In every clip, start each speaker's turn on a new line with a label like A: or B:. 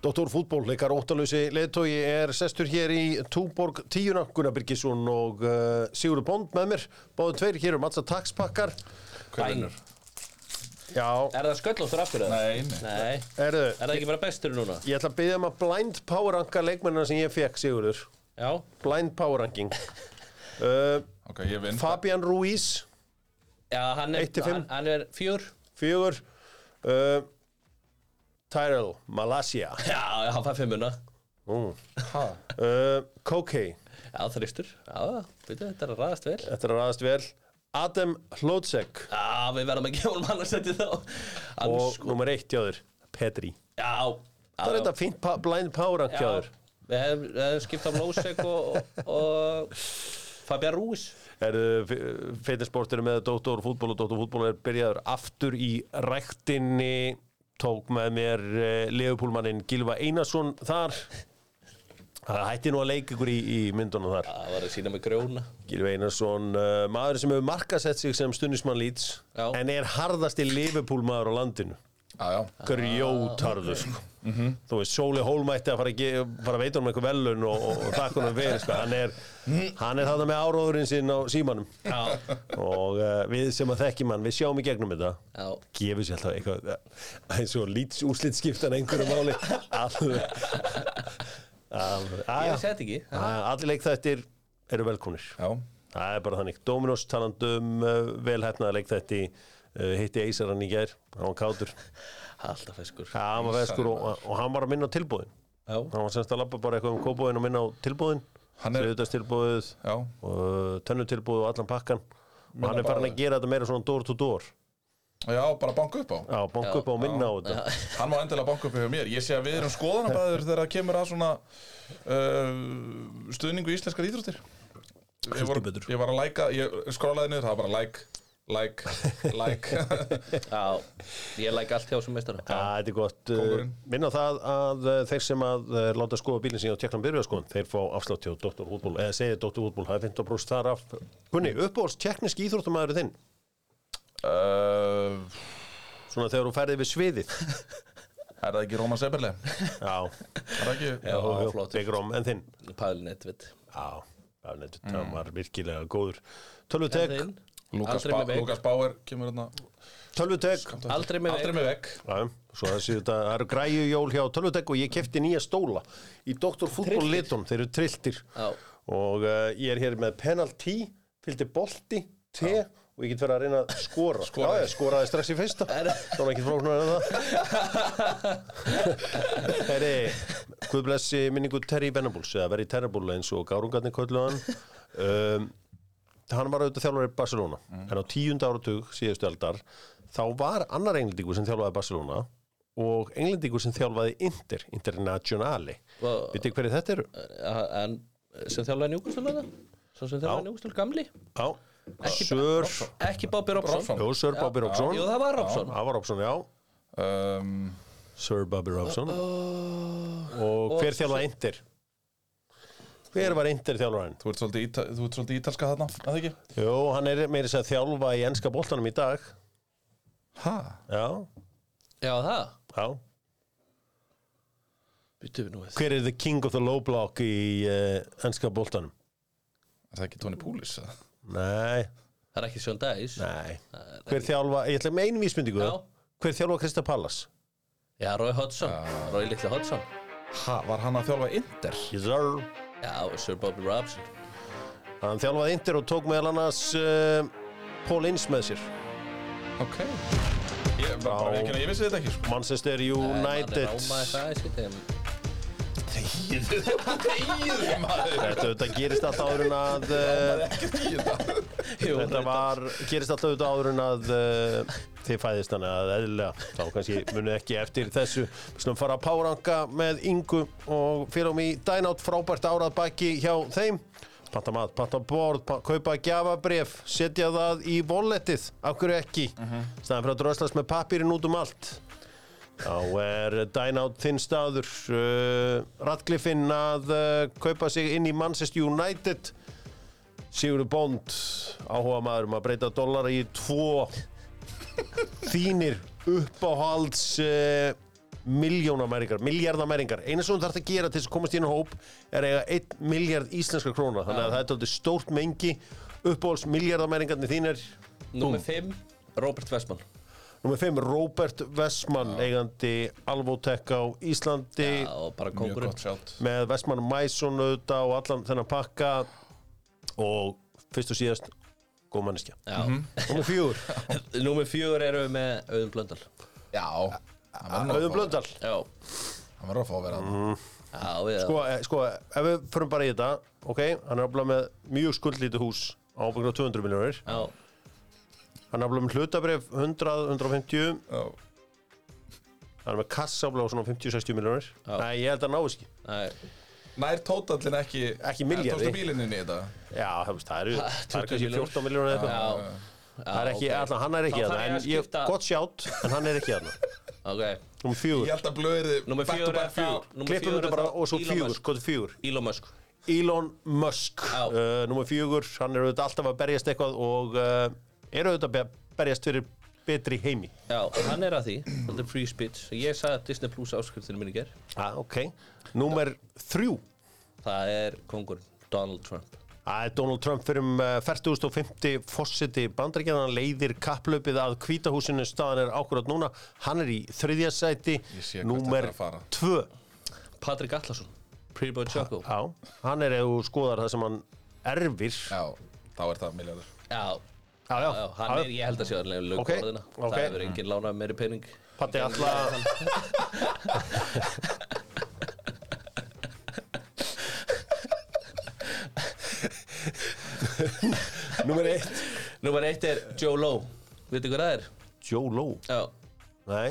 A: Dr. Fútból, leikar óttalösi leðtogi er sestur hér í Túborg tíuna, Gunnar Birgisson og uh, Sigurður Bond með mér, báðu tveir hér um eru mattsa takspakkar
B: Æ.
C: Hver vinnur?
A: Já,
B: Er það sköllóttur aftur eða?
C: Nei, nei.
B: Nei.
A: erðu,
B: Er það ekki bara bestur núna?
A: ég ætla að byggja um að blind powerranka leikmennina sem ég fekk, Sigurður
B: Já.
A: blind powerranking uh,
C: Ok, ég vinn
A: Fabian Ruiz
B: Já, hann er,
A: Eitt til fimm.
B: hann, hann er fjör.
A: fjögur uh, Tyrell, Malaysia
B: Já, já, hann fær fimmuna.
A: uh, Koke,
B: Já, þrýstur. Já, veitu, þetta er að ræðast vel.
A: þetta er að aðast vel Adam Hlótsek
B: Já, við verðum að gefa honum hann að setja þá. Hann
A: og
B: sko,
A: nummer eitt jáður, Petri
B: já.
A: það er þetta fínt pa blind powerrank jáður
B: Við hefum hef skipt á Lósek og, og Fabian Rúis.
A: Erðu feitinsportinu eh, með Dóttor fútból og Dóttor fútból er byrjaður aftur í ræktinni tók með mér uh, leifupúlmannin Gilva Einarsson þar það hætti nú að leika ykkur í, í myndunum þar
B: Það var að sína með grjóna.
A: Gilvi Einarsson, uh, maður sem hefur markasett sig sem stundismann Leeds
B: Já.
A: en er harðasti Liverpool maður á landinu
C: Já, já
A: grjótarður sko. þú veist, Sóli Hólmætti að fara að, ge- fara að veita honum eitthvað velun og, og, og þakka honum fyrir sko. hann er, hann er þarna með áróðurinn sinn á símanum
B: Já.
A: og uh, við sem að þekkjum hann, við sjáum í gegnum þetta
B: Já.
A: gefur sér alltaf eitthvað eh, eins og lýts úrslitskiptan einhverju máli alveg alveg,
B: Ég
A: aðja
B: vissi þetta ekki.
A: allir leikþættir eru velkonir
C: Já,
A: Það er bara þannig. Dominos talandum uh, velhæfnaða leikþætti uh, hitti Eisaran í gær, hann var kátur
B: Alltaf feskur.
A: hann var veskur og, og hann var að minna á tilbúðin
B: Já.
A: hann var semst að labba bara eitthvað um kópúðin og minna á tilbúðin
C: Hann er-
A: þriðutastilbúðið
C: já
A: og tönnutilbúðið og allan pakkan og
C: Minna
A: hann er farin
C: bara-
A: að gera þetta meira svona door to door
C: Já, bara banka upp á
A: já, banka upp á og minna á þetta
C: Hann má endilega banka upp hjá mér Ég sé að við erum skoðanabæður þegar það kemur að svona uh, stuðningu í íslenskar íþróttir ég var,
A: betur.
C: ég var að læka, ég skrólaði niður, það var bara like, like, like
B: Já, ég læk allt hjá sem meistara.
A: Já, þetta er gott. Uh,
C: Kóngurinn.
A: minna á það að uh, þeir sem að uh, láta skoða bílinn sín og tekna byrjarskoðun, þeir fá afslátt hjá Dr. Hútból, eða segið Dr. Hútból, það er 15 brúst þar af. Gunni, uppbólst tekniski íþróttumæður þinn,
C: uh,
A: svona þegar þú ferði við sviðið.
C: Er það ekki Róma Seberle?
A: Já,
C: Er það ekki?
B: Já,
A: jú,
B: flott.
A: byggur om en þinn.
B: Pælnett, veit.
A: Já, það er neitt, það var virkilega góður.
B: Tek.
A: Tölvutek,
C: Lukas,
B: Aldrei
C: ba
B: með veik.
C: Lukas Bauer kemur hérna
A: tölvutek.
B: Aldrei með
C: Aldrei
B: veik.
C: með vekk
A: Já, svo það séu þetta, það eru græju jól hjá Tölvutek og ég kefti nýja stóla í Dr. Fútból
B: Trilltir.
A: Liton, þeir eru trilltir
B: Já.
A: og uh, ég er hér með penalty, fylgdi bolti, te og ég get verið að reyna að skora.
C: Skoraði.
A: Já, ég skoraði strax í fyrsta, þá er ekki fróknar en það. hérna. Herri, guð blessi minningu Terry Venables, eða verið Terrible eins og Gárungarnir kölluðu hann. Um, hann var auðvitað þjálfari Barcelona en á tíunda áratug síðustu aldar þá var annar englendingur sem þjálfaði Barcelona og englendingur sem þjálfaði Inter, Internationali
B: Vá.
A: veitir hverju þetta eru?
B: Já, eh, En sem þjálfaði njúkustul að það? Svo sem þjálfaði njúkustul gamli?
A: Já, Sör
B: Ekki Bobby Robson.
C: Robson.
A: Jú, Sör Bobby Robson
B: Jú, það var Robson.
A: það var Robson, já
C: um,
A: Sir Bobby Robson
B: Uh,
A: og hver þjálfaði Inter? hver var Inter þjálfarinn?
C: Þú ert svolítið, íta, þú ert svolítið ítalska þarna, að það ekki?
A: Jú, hann er meira þess að þjálfa í enska boltanum í dag
C: Hæ?
A: já,
B: Já, það.
A: já
B: Byttu við nú við.
A: hver er the king of the low block í uh, enska boltanum?
C: Er það ekki Tony Púlis? eða?
A: Nei,
B: Það er ekki Sjón Dæs.
A: nei Hver þjálfa, ég ætla með einu vísmyndingu
B: Já.
A: Hver þjálfa Krista Pallas?
B: Já, Rói Hodgson. Rói Littli Hodgson.
C: Ha, var hann að þjálfa Inder?
A: Kizar
B: Já, Sir Bobby Robson.
A: Hann þjálfaði Inter og tók meðal annars uh, Paul Ince með sér
C: Ok Ég, bara, bara, ég, ég vissi þetta ekki sko.
A: Manchester
B: Það er Rómaði
A: United
B: það, ég skil þeim.
C: Þegiðu maður
A: Þetta, þetta gerist alltaf áður en að uh,
C: Ekki því þetta
B: Jú,
A: Þetta var, gerist alltaf auðvitað áður en að uh, þið fæðist hann að eðlilega þá kannski munið ekki eftir þessu Við slum fara að páranga með Ingu og félum í dænátt frábært árað baki hjá þeim panta mat, panta borð, pa kaupa gjafabref setja það í volettið af hverju ekki, uh staðan fyrir að dröslast með pappirinn út um allt þá er dænátt þinn staður uh, Radcliffinn að uh, kaupa sig inn í Manchester United Sigurður Bond áhuga maður um að breyta dollara í tvo þínir uppáhalds uh, miljónamæringar, miljardamæringar eina sem þú þarf að gera til þess að komast í einu hóp er að eiga 1 miljard íslenskar króna þannig að það er tóttið stórt mengi uppbóls miljardamæringarnir þínir
B: Númer 5, Robert Westman
A: Númer 5, Robert Vessmann eigandi Alvotech á Íslandi
B: Já, og bara
C: Mjög
B: kongurinn
C: gott sjátt
A: með Vestmann Mæsson auðvitað og allan þennan pakka og fyrst og síðast góð manneskja.
B: Já.
A: Númer fjögur,
B: Númer 4 erum við með Auðun Blöndal
D: Já, hann var nú að
A: Auðun
D: fá-
A: Blöndal.
B: Já,
D: Hann var að fá að vera hann
C: Mhm.
B: já, við
A: Sko, eh, sko, ef við förum bara í þetta, ok, hann er aflað með mjög skuldlítið hús á byggjum á 200 miljónir.
B: Já,
A: Hann er aflað með hlutabref 100, 150, hann er með kassa aflað á svona 50-60 miljónir.
B: Já.
A: Nei, ég held að hann náðu ekki.
B: nei
C: Nær tótallin ekki
A: Ekki milljarði.
C: Tókstu bílinni í þetta
A: Já, það veist, það eru, það
B: 20
A: eru kannski 14
B: milljónir.
A: miljónir eða eitthvað.
B: Já,
A: Það er ekki,
B: ok.
A: allan, hann er ekki
B: Þá
A: þarna,
B: þarf ég
A: en
B: að
A: ég,
B: skipta-
A: gott sjátt, en hann er ekki þarna.
B: ok
A: Númer fjögur,
C: Ég held að blöðið
B: Númer fjögur er þá númer
A: klippum
B: fjögur
A: þetta
B: er
A: bara
B: þá
A: og svo
B: Elon
A: fjögur,
B: Musk.
A: hvað er fjögur?
B: Elon Musk
A: Elon Musk
B: Já.
A: uh, Númer fjögur, hann er auðvitað alltaf að berjast eitthvað og uh, er auðvitað að be- berjast fyrir betri heimi
B: Já, hann er að því, þetta er free speech Ég sagði að Disney Plus áskriftin minni ger
A: ah, ok, númer þrjú
B: Það er kongurinn Donald Trump
A: Það er Donald Trump fyrir um uh, 40.50 fósiti bandaríkjana, hann leiðir kapplöpið að kvítahúsinu, staðan er ákvörðat núna, hann er í þriðja sæti,
C: Ég sé hvert
A: númer
C: þetta er að fara.
A: tvö
B: Patrick Atlason Prebo Choco
A: Já, hann er eða skoðar það sem hann erfir
D: Já,
C: Þá er það miljardur
B: Já,
A: Já, já,
B: já, hann er, ég held að sé hann er lög
A: Ok,
B: orðina
A: ok.
B: hérna. Það hefur enginn lánað meiri pening
A: Patti Alla Númer eitt
B: Númer eitt er Joe Lowe Vitið hvað það er?
A: Joe Low
B: Já,
A: Nei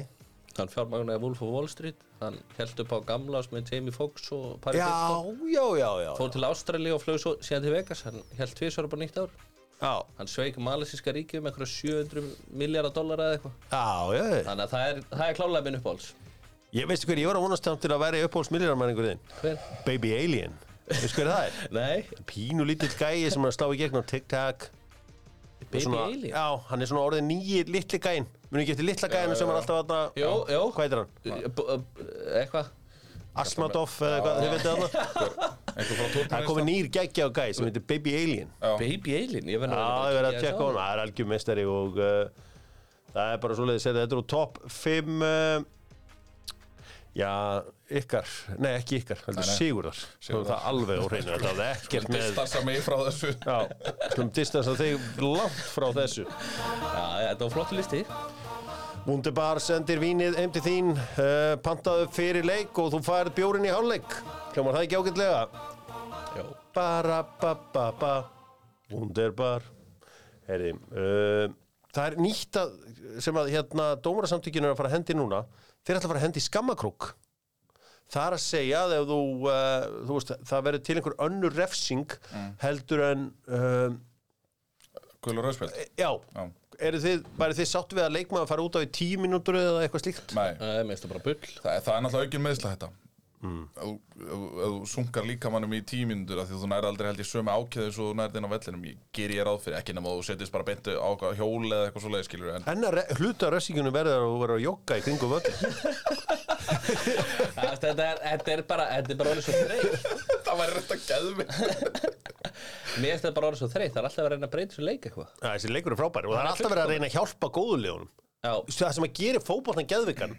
B: hann fjármagnaði Wolf of Wall Street hann held upp á gamlas með Jamie Foxx og Paris
A: Já,
B: Hilton
A: já, já, já
B: fór til Ástrali og flög svo síðan til Vegas hann held tvisar upp á nýtt ár
A: Já,
B: hann sveik malisíska ríkið með einhverja 700 miljardar dollara eða eitthvað
A: já, já, já
B: þannig að það er, það er klálega minn uppáhalds
A: Ég veistu hver, ég var að vonast hann til að vera uppáhaldsmiljarmæningur þinn
B: hver?
A: Baby Alien Veistu hver það er?
B: nei,
A: Pínu lítill gæi sem er að slá í gegn á TikTok
B: Baby
A: svona,
B: Alien
A: Já, hann er svona orðið nýji litli gæin Muni ekki eftir litla gæinu sem er alltaf að
B: Jú, jú.
A: Hvað heitir hann?
B: B- b- eitthvað
A: Asmadoff eða hvað þið veitir þarna
C: Einhver frá
A: Það er
C: Turkmenistan
A: komið nýr geggja á gæi sem heitir Baby Alien Já,
B: Baby Alien, ég verður
A: það er verið að tjekka á hann Það er algjör mestari og uh, það er bara svoleiðis að Þetta eru top 5 uh, Já, ykkar Nei, ekki ykkar, heldur Sigurðar Þú er það alveg á hreinu Þetta er ekkert með
C: Distassa mig frá þessu
A: Já, slum distansa þig langt frá þessu
B: já, já, þetta var flott listi
A: Wunderbar sendir vínið heim til þín uh, Pantaðu fyrir leik og þú færð bjórin í hálfleik Hljómar það ekki ágætlega?
B: já
A: Ba-ra-ba-ba-ba Wunderbar Heri, uh, Það er nýtt að, sem að hérna dómarasamtökinu er að fara að hendi núna þeir ætla að fara að hendi skammakrók Það er að segja að ef þú, uh, þú veist, það verður til einhver önnur refsing heldur en uh,
C: Gull og rauðspjöld
A: já,
C: Já.
A: eru þið, væri þið sátt við að leikmaður fara út á í tíu mínútur eða eitthvað slíkt?
C: Nei,
B: Æ, mér finnst það bara bull
C: það, það er náttúrulega aukin meðsla þetta Ef þú- ef þú- ef þú sunkar líkamannum í tíu mínútur af því að þú nær aldrei held ég sömu ákjöðu svo þú nærð inn á vellinum ég ger ég ráð fyrir ekki nema þú setjist bara beintu á eitthvað hjól eða eitthvað svo leiðskilur en
A: En að re- hluta refsingunum verður að þú verður að jogga í kringum völl
B: Það- þetta er, þetta er bara, þetta er bara orðið svo þreytt
C: það væri rétt að geðu mig
B: Mér finnst það bara orðið svo þreytt, það er alltaf að reyna að breyta þessu leik eitthvað.
A: Þessi leikur er frábæri og það er alltaf verið að reyna að hjálpa góðulegunum
B: Já,
A: það sem að gera fótboltan geðvikan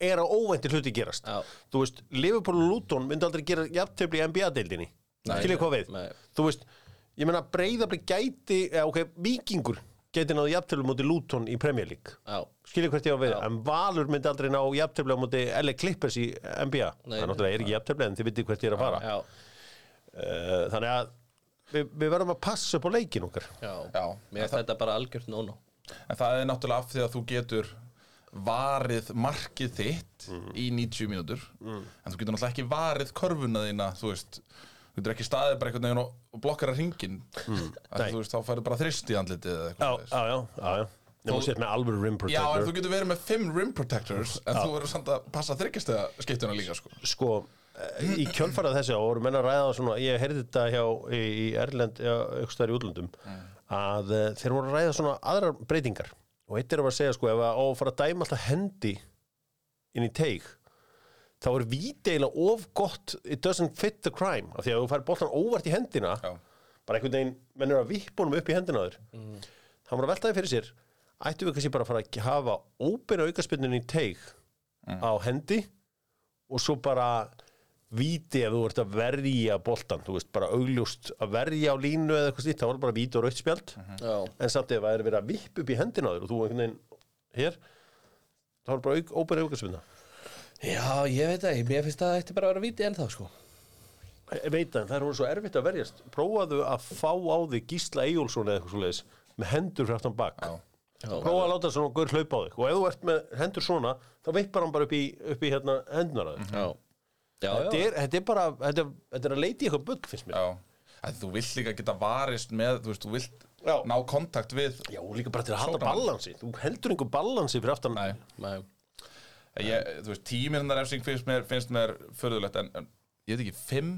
A: er að óvæntir hluti gerast
B: Já.
A: þú veist, Liverpool og Luton myndi aldrei gera jafntöfli í NBA-deildinni skiljið hvað við,
B: nei.
A: þú veist ég meina breyðabli gæti, eða ok, vikingur gæti náðu jafntöfli múti Luton í Premier League,
B: já,
A: skiljið hvert ég á við en Valur myndi aldrei ná jafntöfli á múti LA Clippers í NBA, það
B: Nei, nei.
A: náttúrulega er ekki jafntöfli en þið vitið hvert ég er að fara
B: já,
A: Eh, þannig að við, við verðum að passa upp á leikin okkar
B: já.
C: Já.
B: Mér finnst þetta bara algjört no-no.
C: En það er náttúrulega af því að þú getur varið markið þitt í 90 mínútur en þú getur náttúrulega ekki varið körfuna þína þú veist, þú getur ekki staðið bara einhvern veginn og og blokkar að ringin mm.
A: Nei.
C: þú veist, þá færðu bara þrist í andlitið eða
A: já,
C: eitthvað svoleiðis.
A: já, já, já, já. Nefnum
C: Þú-
A: þú sett með alvöru rim
C: Já, en
A: protector
C: þú getur verið með 5 rim protectors en þú verður samt að passa þryggjastega skiptuna líka sko.
A: sko eh, í kjölfarað þessi og voru menn að ræða svona, ég heyrði þetta hjá í í Erlend, ykkur staðar í útlöndum að eh, þeir voru að ræða svona aðrar breytingar og eitt er að vera að segja sko ef að á að fara að dæma alltaf hendi inn í teig þá er vídeila of gott it doesn't fit the crime af því að þú fær boltan óvart í hendina
C: Já.
A: bara einhvern veginn, menn er að vippunum upp í hendina á þér þá maður að velta því fyrir sér ættum við kannski bara að fara að hafa óbeina aukaspinnin í teig á hendi og svo bara víti ef þú ert að verja boltan, þú veist, bara augljóst að verja á línu eða eitthvað slíkt, þá var bara víti og rautt spjald
B: Já,
A: en samt ef það er verið að vipp upp í hendina á þér og þú einhvern veginn hér þá er bara auk, óbæri aukarsvinna
B: já ég veit það, mér finnst það ætti bara að vera viti ennþá sko
A: Ég veit það, það er hún svo erfitt að verjast prófaðu að fá á þig Gísla Eyjólfsson eða eitthvað svo leiðis með hendur fyrir aftan bak
C: Já.
A: prófa að láta svona gaur hlaupa á þig og ef þú ert með hendur svona þá vippar hann bara upp í, upp í hérna hendunar á þig
B: Já, já,
A: þetta,
B: já.
A: er, þetta er bara, þetta, er- þetta er að leita í eitthvað bugg finnst mér
C: Já, að þú vilt líka geta varist með, þú veist, þú vilt
A: Já.
C: ná kontakt við
A: Já, og líka bara til að halda
C: Sóknar.
A: balansi þú heldur einhver balansi fyrir aftan
C: Nei,
B: Nei.
C: ég, þú veist, tímir hennar refsing finnst mér, finnst mér förðulegt en, en ég veit ekki, fimm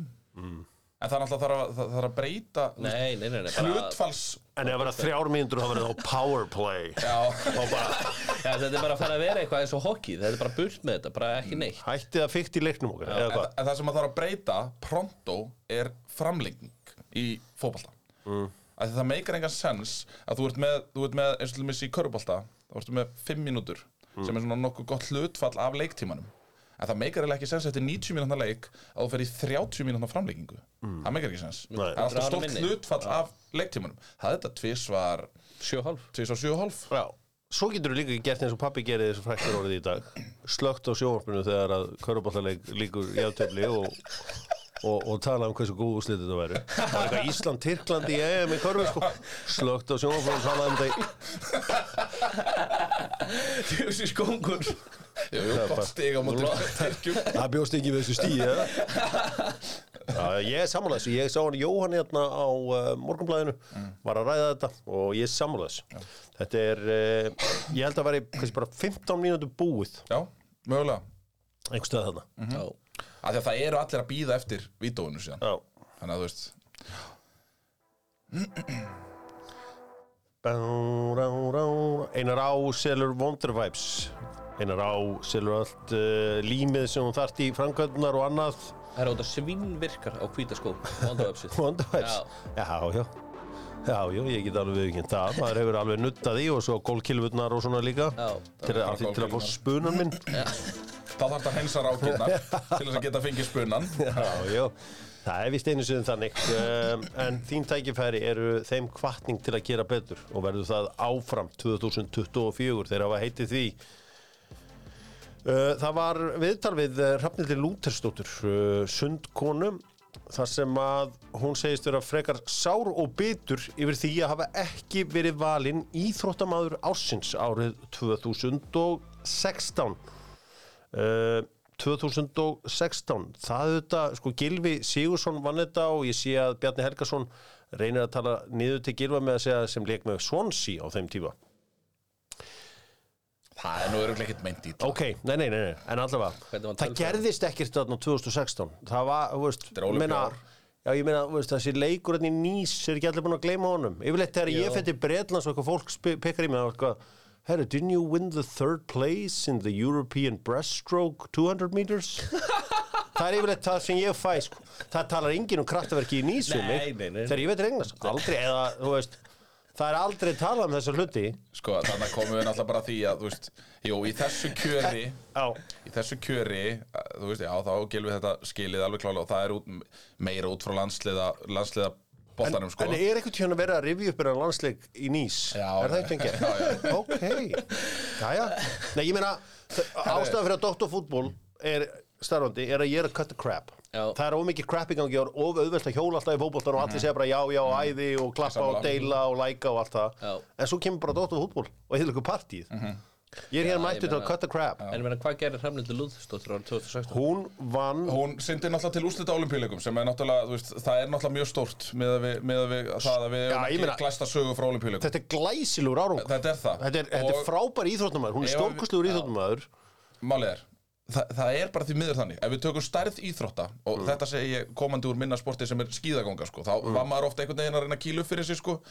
C: en það er alltaf þarf að, það þarf að breyta þú veist,
B: Nei, nei, nei, nei, bara
C: hlutfalls
A: en ef það verða þrjár mínútur þá verður þá power play
C: Já,
A: og bara
B: já, Þetta er bara að fara að vera eitthvað eins og hockey Þetta er bara burt með þetta, bara
A: Mm.
B: ekki neitt
A: hættið að fykta í leiknum okkar eða
C: en,
A: hvað
C: en það sem að þarf að breyta pronto er framlengning í fótbolta mm. að það meikar engan sens að þú ert með, þú ert með eins og til missi í körfubolta þá ertu með 5 mínútur sem er svona nokkuð gott hlutfall af leiktímanum en það meikar eiginlega ekki sens eftir 90 mínútna leik að þú fer í 30 mínútna framlengingu það meikar ekki sens
A: Nei.
C: það er alltaf
B: Ráðum
C: stórt
B: minni.
C: hlutfall af leiktímanum það er þetta tvisvar
B: Sjö og hálf
C: tvisvar 7,5
A: Já, svo getur þú líka gert eins og pappi gerði þessu frækkar orðið í dag slögt á sjónvarpinu þegar að körubáttaleik líkur játtöfli og, og, og tala um hversu góð úrslit þetta væri Það var eitthvað Ísland, Tyrkland í EM í körfu sko. slögt á sjónvarpinu og tala um þetta í-
B: Þessi skóngur
C: jú, jú, gott stig á móti Tyrkjum.
A: Það bjóst ekki við þessu stíði eða? Já, ég er sammála þessu, ég sá hann Jóhann hérna á uh, morgunblæðinu, var að ræða þetta og ég er sammála þessu. Þetta er, uh, ég held að veri kannski bara 15 mínútur búið,
C: já, mögulega
A: einhvers stöð þarna.
B: Já,
C: Af því að það eru allir að býða eftir vídóinu síðan
A: Já.
C: þannig að þú veist
A: Bá, rá, rá, rá. Einar á selur Wonder Vibes Einar á selur allt uh, límið sem hún þarft í framkvæmdunar og annað
B: það er út að svinnvirkar á hvítaskó Vandavöpsið
A: Wonder Vibes Já, já, já, já ég get alveg viðkynnt það maður hefur alveg nuttað í og svo gólkilvurnar og svona líka
B: Já.
A: til, að- til, til að fá spunan minn
C: Þá þarf að hreinsa rákirnar til þess að geta fengið spunan
A: Já, já, það er vist einu sinni þannig um, en þín tækifæri eru þeim kvartning til að gera betur og verður það áfram 2024 þegar hafa heitið því Uh, Það var viðtal við uh, Hrafnildi Lútersdóttur, uh, sundkonu, þar sem að hún segist vera frekar sár og bitur yfir því að hafa ekki verið valinn íþróttamaður ársins árið 2016. Uh, 2016, það auðvitað, sko Gilvi Sigursson vann þetta og ég sé að Bjarni Helgason reynir að tala niður til Gilva með að segja sem leik með Swansea á þeim tíma.
C: Það er nú örugglega ekkert meint í
A: Ok, nei, nei, nei, nei. en allavega
B: Hvernig var
A: Það
B: tölfræðin?
A: gerðist ekkert þarna 2016 Það var, þú veist,
C: er Ólympíuár.
A: Já, ég meina, þú veist, þessi leikur hérna í nýs er ekki allir búin að gleyma honum Yfirleitt þegar ég
B: Jú.
A: fætti Bretlands og eitthvað fólk spe- pekkar í mig og eitthvað Herru, didn't you win the third place in the European breaststroke 200 meters? það er yfirleitt það sem ég fæ sko. Það talar enginn um kraftaverki í nýs um mig
B: Nei, nei, nei.
A: Þegar ég veit regnast Aldrei, eða, þú veist Það er aldrei talað um þessa hluti
C: Sko, þannig að komum við náttúrulega bara að því að, þú veist Jú, í þessu kjöri
A: Já,
C: Í þessu kjöri, að, þú veist, já, þá gilvið þetta skilið alveg klálega Og það er út, meira út frá landsliða, landsliða boltanum, sko
A: En er ekkert hérna verið að rifja upp hérna landsleik í Nýs?
C: Já,
A: Er það ekki
C: já,
A: engið? Ok, jæja. Nei, ég meina, ástæðan fyrir að doktorfútból er starfandi, er að ég er að cut the crap.
B: Já.
A: Það er ómikið crap í gangi og er of auðvelt að hjóla alltaf í fótboltan og
C: Mhm.
A: allir segja bara já, já, æði og klappa og
C: Sammála.
A: deila og læka og allt það.
B: Já.
A: En svo kemur bara doktorfútból og heitir ykkur partíð.
C: Mhm.
A: Ég er
B: Já,
A: hérna
B: ég
A: mættur til að
B: meina-
A: cut the crap.
B: En ég meina, hvað gerir Hrafnildur Lúðsdóttir árið 2016?
A: Hún vann
C: Hún syndi náttúrulega til úslita olimpíuleikum sem er náttúrulega, þú veist, það er náttúrulega mjög stórt með að við, með að við það að við
A: Já, ég
C: höfum
A: meina-
C: ekki glæsta sögu frá olimpíuleikum
A: Þetta er glæsilegur árangur.
C: Þetta er það
A: Þetta er, þetta er
C: Og-
A: frábær íþróttumæður. Hún er
C: Ef að við-
A: stórkustlegur íþróttumæður.
C: Málið er, þa það er bara því miður þannig Ef við tökum stærð íþrótta Og þetta segi ég komandi úr minna sporti sem er skíðaganga sko, Þá var maður ofta einhvern veginn að reyna að kýla upp fyrir sig sko.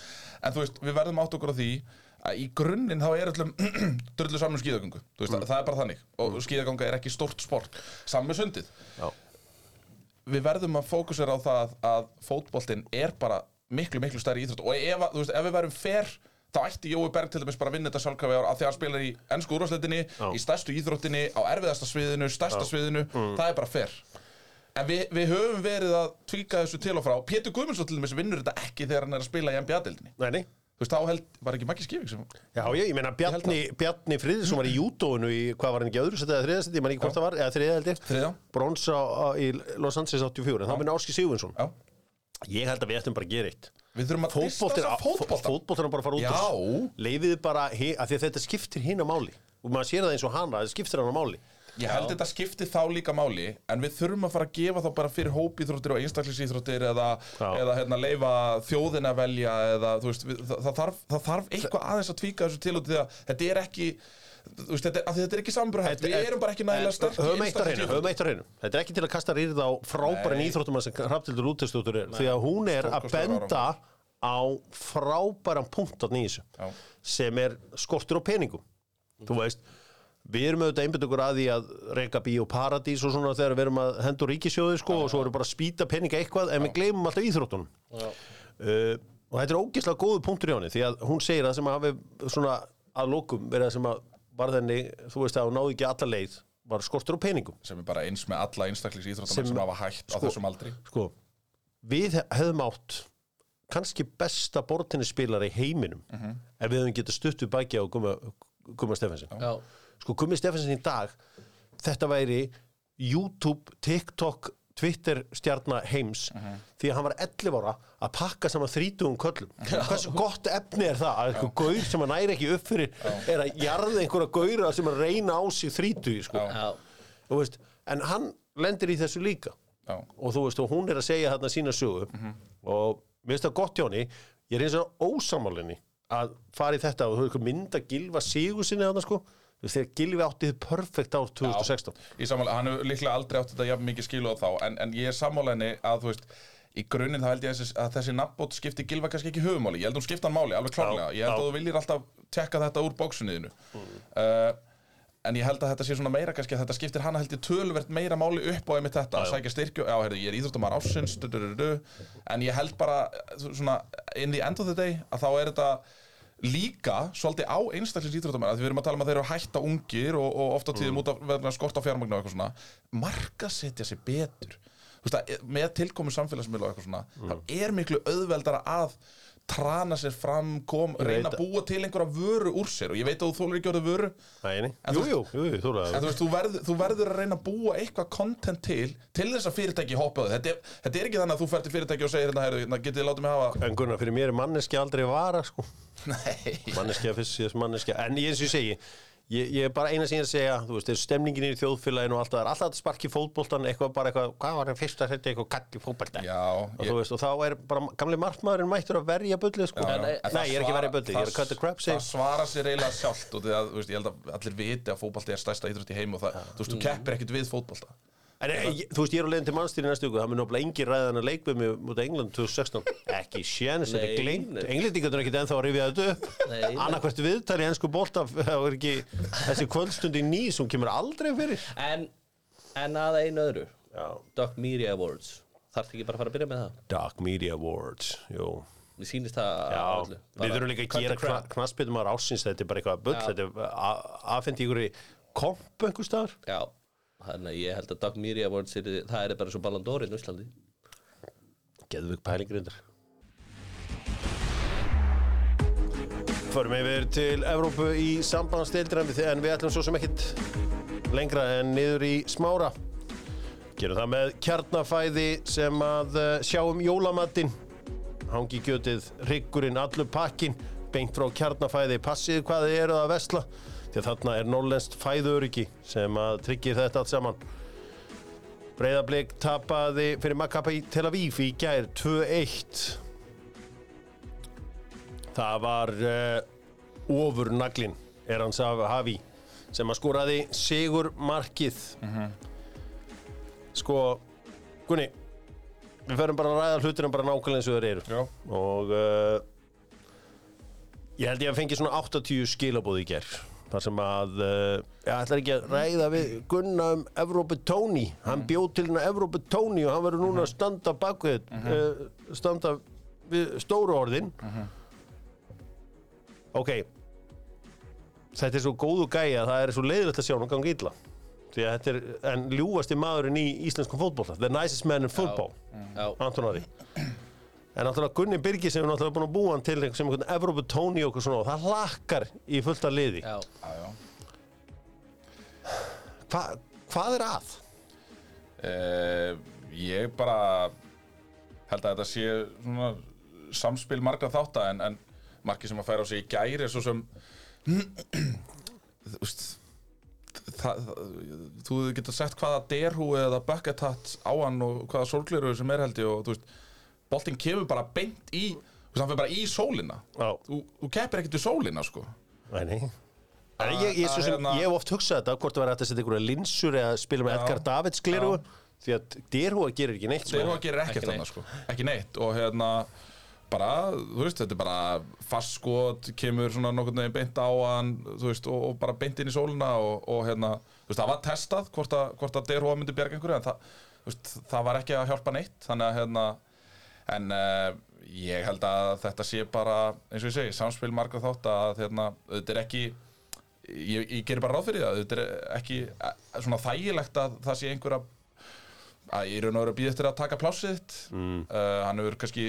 C: En þú veist, við verðum átt okkur á því að í grunninn þá er öllum drullu saman um skíðagöngu Þú veist, það er bara þannig og skíðagönga er ekki stórt sport saman með sundið
A: Já.
C: við verðum að fókusera á það að fótboltinn er bara miklu, miklu stærri íþrótt og ef, að- þú veist, ef við verðum fer þá ætti Jói Berg til dæmis bara að vinna þetta sjálfkrafi ár af því að hann spilar í ennsku úrvarsleitinni í stærstu íþróttinni, á erfiðasta sviðinu stærsta sviðinu,
A: Mm.
C: það er bara fer en við, við höfum verið að tvíka þessu til og frá, Pétur Guðmundsson til dæmis vinnur þetta ekki þegar hann er að spila í NBA-deildinni
A: Nei, nei.
C: þú veist, þá held, var ekki Maggi Skivik sem
A: Já, ég, ég meina Bjarni, Bjarni Friðsson var í júdóinu í, hvað var hann ekki öðru setið eða þriða setið, ég man ekki hvort það var, eða þriða heldur,
C: þriðja,
A: bronsa í Los Angeles 84, en þá minna Áski Sigurvinsson.
C: já,
A: Ég held að við ættum bara að gera eitt.
C: við þurfum að
A: Fótboltinn
C: distansa fótbolta.
A: fótboltinn á bara að fara út
C: Já.
A: Leifiði bara, he, að því að þetta skiptir hinn á máli. Og maður sér það eins og hana, þetta skiptir hann á máli.
C: Ég held þetta skipti þá líka máli en við þurfum að fara að gefa þá bara fyrir hópíþróttir og einstaklisíþróttir eða,
A: Já.
C: eða hérna, leifa þjóðin að velja eða, þú veist, við, það, það, þarf, það þarf eitthvað aðeins að tvíka þessu til út því að þetta er ekki þú veist, þetta, er- af því þetta er ekki sambrúhætt við
A: Þetta-
C: erum bara ekki nægilega sterk
A: Höfum eitt á hreinu, höfum eitt á hreinu. Þetta er ekki til að kasta rýrð á frábærin íþróttumann sem Hrafnildur Útestúttur er, því að hún er að
C: Stórkostlegur
A: benda á frábæran punkt átni í þessu,
C: Já.
A: sem er skortur á peningum. Þú veist, við erum auðvitað einbjönd okkur að því að reyka bíó paradís og svona þegar við erum að henda úr ríkisjóði sko og svo erum bara að spýta peninga eitthvað en við gleymum alltaf íþróttunum. Uh, og þetta er ógeðslega góðu punktur hjá henni því að hún segir að sem að hafi svona að lokum verið að sem að varð henni, þú veist að hún náði ekki alla leið var skortur á peningum
C: sem er bara eins með alla einstaklisíþróttir
A: Sem-
C: sem, hafa hægt á
A: sko-
C: þessum aldri
A: sko, við hefðum átt kannski besta bortinnispilar í heiminum
C: Mhm.
A: ef við hefðum getað stutt við baki á Gumma, Gumma Stefensen
B: Já,
A: sko Gummi Stefensen í dag þetta væri YouTube, TikTok, Twitter stjarnar heims
C: Mhm.
A: því að hann var 11 ára að pakka saman 30 köllum hversu gott efni er það að einhver gaur sem hann næri ekki upp fyrir er að jarða einhverja gaura sem að reyna á sig 30 sko.
C: Já.
B: já,
A: Þú veist, en hann lendir í þessu líka
C: Já. Mhm.
A: og þú veist og hún er að segja þarna sína sögu og mér finnst það gott hjá henni ég er eins og ósamálinni að fara í þetta og þú veist mynda Gilva Sigur sinni þarna sko Þú veist, þegar Gilvi átti þið perfekt ár 2016
C: Ég sammála, hann hefur líklega aldrei átt þetta jafn mikið skilu á þá en, en ég er sammála henni að þú veist í grunninn þá held ég að þessi, að þessi nafnbót skipti gilva kannski ekki höfumáli, ég held hún skipta hann máli alveg klárlega,
A: Já,
C: ég held
A: já. Mm.
C: að þú viljir alltaf tekka þetta úr bóksunniðinu uh, en ég held að þetta sé svona meira kannski að þetta skiptir hana held ég tölvert meira máli upp á einmitt þetta, að sækja styrkju já, heyrðu, ég er íþróttamar ásins du, du, du, du. en ég held bara, eh, svona in the end of the day, að þá er þetta líka svolítið á einstaklins íþróttamenn því við erum að tala um að þeir eru að hætta ungir og, og ofta tíðum út af verðna skort á fjármagnu og eitthvað svona markasetja sig betur Þú veist að, e, með tilkomu samfélagsmiðla og eitthvað svona þá er miklu auðveldara að trana sér fram, kom,
A: veit
C: reyna að
A: að-
C: búa til einhverja vöru úr sér og ég veit að þú þólar ekki orðið vöru
A: Nei, nei.
C: En
A: Jú,
C: þú-
A: jú, jú, jú, þú
C: en
A: ræður
C: þú veist, þú verður, þú verður að reyna að búa eitthvað content til til þess að fyrirtæki hoppa á þig þetta, er- þetta er ekki þannig að þú fer til fyrirtæki og segir hérna, heyrðu, hérna, getið þið látið mig hafa
A: En Gunnar, fyrir mér er manneski aldrei vara sko.
C: Nei.
A: Manneskja fyrst síðast manneskja En ég eins og ég segi Ég, ég er bara eina sem ég er að segja, þú veist, er stemningin í þjóðfélaginu og allt það er alltaf að sparki fótboltan, eitthvað bara eitthvað, hvað var það fyrst að þetta eitthvað katt í fótboltan?
C: Já,
A: og
C: ég,
A: þú veist, og þá er bara gamli markmaðurinn mættur að verja bullið sko.
C: Já, já.
A: nei,
C: En
A: ég er
C: það
A: ekki að
C: svara-
A: verja bullið, ég er að cut the crap
C: það
A: sig
C: svara sér eiginlega sjálft og því að, þú veist, ég held að allir viti að fótbalti er stærsta íþrótt í heim og það, þú
A: Mm.
C: veist, þú keppir ekkert við fótbalta
A: en eh, ég, þú veist, ég er á leiðin til mannstýri næstu ykkur það mun náttúrulega engin ræðan að leik við mig mútið England 2016, ekki sjens þetta
B: Nei,
A: er gleymt,
B: nei.
A: englendingarnir er ekkit ennþá að rifja þetta
B: Nei,
A: upp
B: nei.
A: annarkvært viðtal í ennsku bolta það er ekki þessi kvöldstund í nýs hún kemur aldrei fyrir
B: en, en að einu öðru
A: Já.
B: Doc Media Awards Þarftu ekki bara að fara að byrja með það?
A: Dark Media Awards, jú
B: Mér sýnist það
A: Já,
B: öllu.
A: við
B: Bara-
A: þurfum líka að
B: Cut the
A: gera kna,
B: crap.
A: knaspið maður ásins, þetta er bara eitthvað bull,
B: Já.
A: þetta er a- afhent í ykkur í komp einhver staðar
B: Já, þannig að ég held að Doc Media Awards er, það er bara svo Ballan Dórinn í hérna Íslandi
A: Geðvögg pælingrindar Förum yfir til Evrópu í sambandsdeildir en við- en við ætlum svo sem ekkit lengra en niður í smára Gerum það með kjarnafæði sem að eh, sjá um jólamatinn hangi gjötið, hryggurinn, allur pakkin beint frá kjarnafæði, passið hvað þið eruð að vesla því að þarna er norlenst fæðuöryggi sem að tryggir þetta allt saman Breiðablík tapaði fyrir Maccabi Tel Aviv í gær 2-1 Það var uh, ofur naglin Erans Havi sem að skoraði sigur markið Sko Gunni við ferum bara að ræða hlutina bara nákvæmlega eins og þeir eru
C: Já,
A: og uh, eh, Ég held ég að fengi svona 80 skilabóð í gerð þar sem að, uh, ég ætlar ekki að ræða við Gunna um Evrópu Tóni hann bjóð til hérna Evrópu Tóni og hann verður núna að standa bak við uh, standa við stóru orðin ok þetta er svo góðu gæja það er svo leiðilegt að sjá hann gangi illa því að þetta er en ljúfasti maðurinn í íslenskum fótbolta the nicest man in football
B: já,
A: Anton Ari En náttúrulega Gunni Birgis hefur náttúrulega búin að búa hann til einhver- sem einhvern Evrópu Tóni og okkur svona og það hlakkar í fullt af liði.
B: já,
D: Já, já.
A: Hva, hvað er að?
C: Eh, ég bara held að þetta sé svona samspil margra þátta en, en margi sem að færa á sig í gæri svo sem þú veist það, það, þú getur sett hvaða derhúi eða bucket hat á hann og hvaða sólgleru sem er held ég og þú veist boltinn kemur bara beint í þú veist hann fyrir bara í sólina
A: Já,
C: þú, þú keppir ekkert við sólina sko
A: nei, nei. En ég, ég, svo
C: að
A: sem,
C: hérna-
A: ég hef oft hugsað þetta, hvort það var hægt að setja einhverja linsur eða spila með Edgar Davids gleru, því að Derhúa gerir ekki neitt.
C: Þeir
A: sko.
C: eru að gera
B: Ekki
C: ekkert
B: neitt.
C: annað sko Ekki neitt og hérna bara, þú veist, þetta er bara fast skot, kemur svona nokkurn veginn beint á hann, þú veist, og, og bara beint inn í sóluna og, og hérna, þú veist, það var testað hvort að, hvort að Derhóa myndi bjarga einhverju en það, þú veist, það var ekki að hjálpa neitt þannig að hérna, en uh, ég held að þetta sé bara eins og ég segi, samspil margra þátt að hérna, þetta er ekki ég, ég gerir bara ráð fyrir það, þetta er ekki eh, svona þægilegt að það sé einhver að að í raun og veru býð eftir að taka plássið þitt uh, hann hefur kannski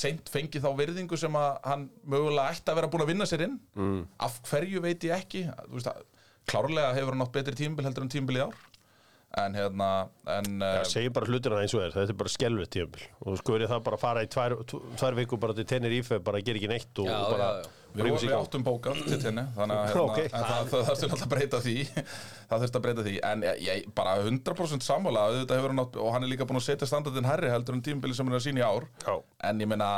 C: seint fengið þá virðingu sem að hann mögulega ætti að vera búin að vinna sér inn mm. af hverju veit ég ekki Þú veist, að, klárlega hefur hann átt betri tímbil heldur en tímbil í ár en hérna en,
A: Já,
C: uh,
A: segjum bara hlutina eins og er, þetta er bara skelvið tímpil og sko er það bara að fara í tvær, tvær viku bara til tennir ífæð, bara gera ekki neitt og,
B: Já,
A: og bara
B: já, já.
C: Við,
A: rífa
C: vorum-
A: sig í
C: við
A: gang.
C: áttum bókað til tenni þannig að hérna,
A: Ok.
C: okay. það, það þurfti náttúrulega að breyta því það þurfti að breyta því en ég, ég bara 100% sammála auðvitað hefur hann átt og hann er líka búin að setja standardin herri heldur en tímbili sem hann er að sína í ár
A: Já.
C: en ég meina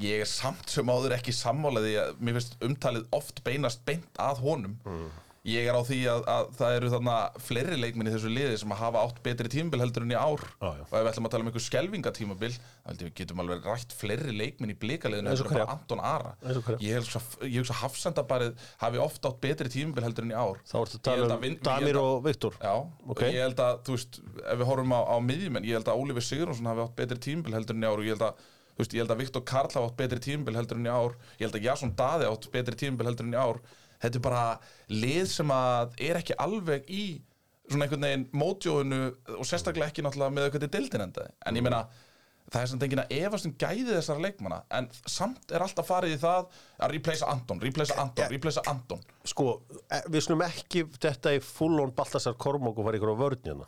C: ég er samt sem áður ekki sammála því að mér finnst umtalið oft beinast beint að honum
A: Mm.
C: ég er á því að, að það eru þarna fleiri leikminni þessu liði sem að hafa átt betri tímbil heldur en í ár
A: Já, já.
C: og ef við ætlum að tala um einhver skelvingatímabil þá held ég við getum alveg rætt fleiri leikminni í blíkaliðinu
A: Eins og
C: heldur en bara
A: hverja?
C: Anton Ara
A: Eins og hverja?
C: ég hugsa, ég hugsa hafsendabarið hafi oft átt betri tímubil heldur en í ár
A: Þá ertu að
C: Ég held
A: tala
C: að
A: um
C: vin- ég
A: Damir
C: held að-
A: og Viktor.
C: Já,
A: Ok.
C: og ég held að, þú veist, ef við horfum á, á miðjumenn, ég held að Ólífi Sigurjónsson hafi átt betri tímubil heldur en í ár og ég held að, þú veist, ég held að Viktor Karl hafi átt betri tímubil heldur en í ár ég held að Jason Daði átt betri tímubil heldur en í ár þetta er bara lið sem að er ekki alveg í svona einhvern veginn mótjóðinu og sérstaklega ekki náttúrulega með eitthvað til deildin endaði en ég meina, það er samt enginn að efast um gæði þessara leikmanna en samt er alltaf farið í það að replacea Anton, replacea Anton, replacea Anton
A: sko, e- við slum ekki þetta í full-on Baltasar Kormók og fara ykkur á vörðni hérna.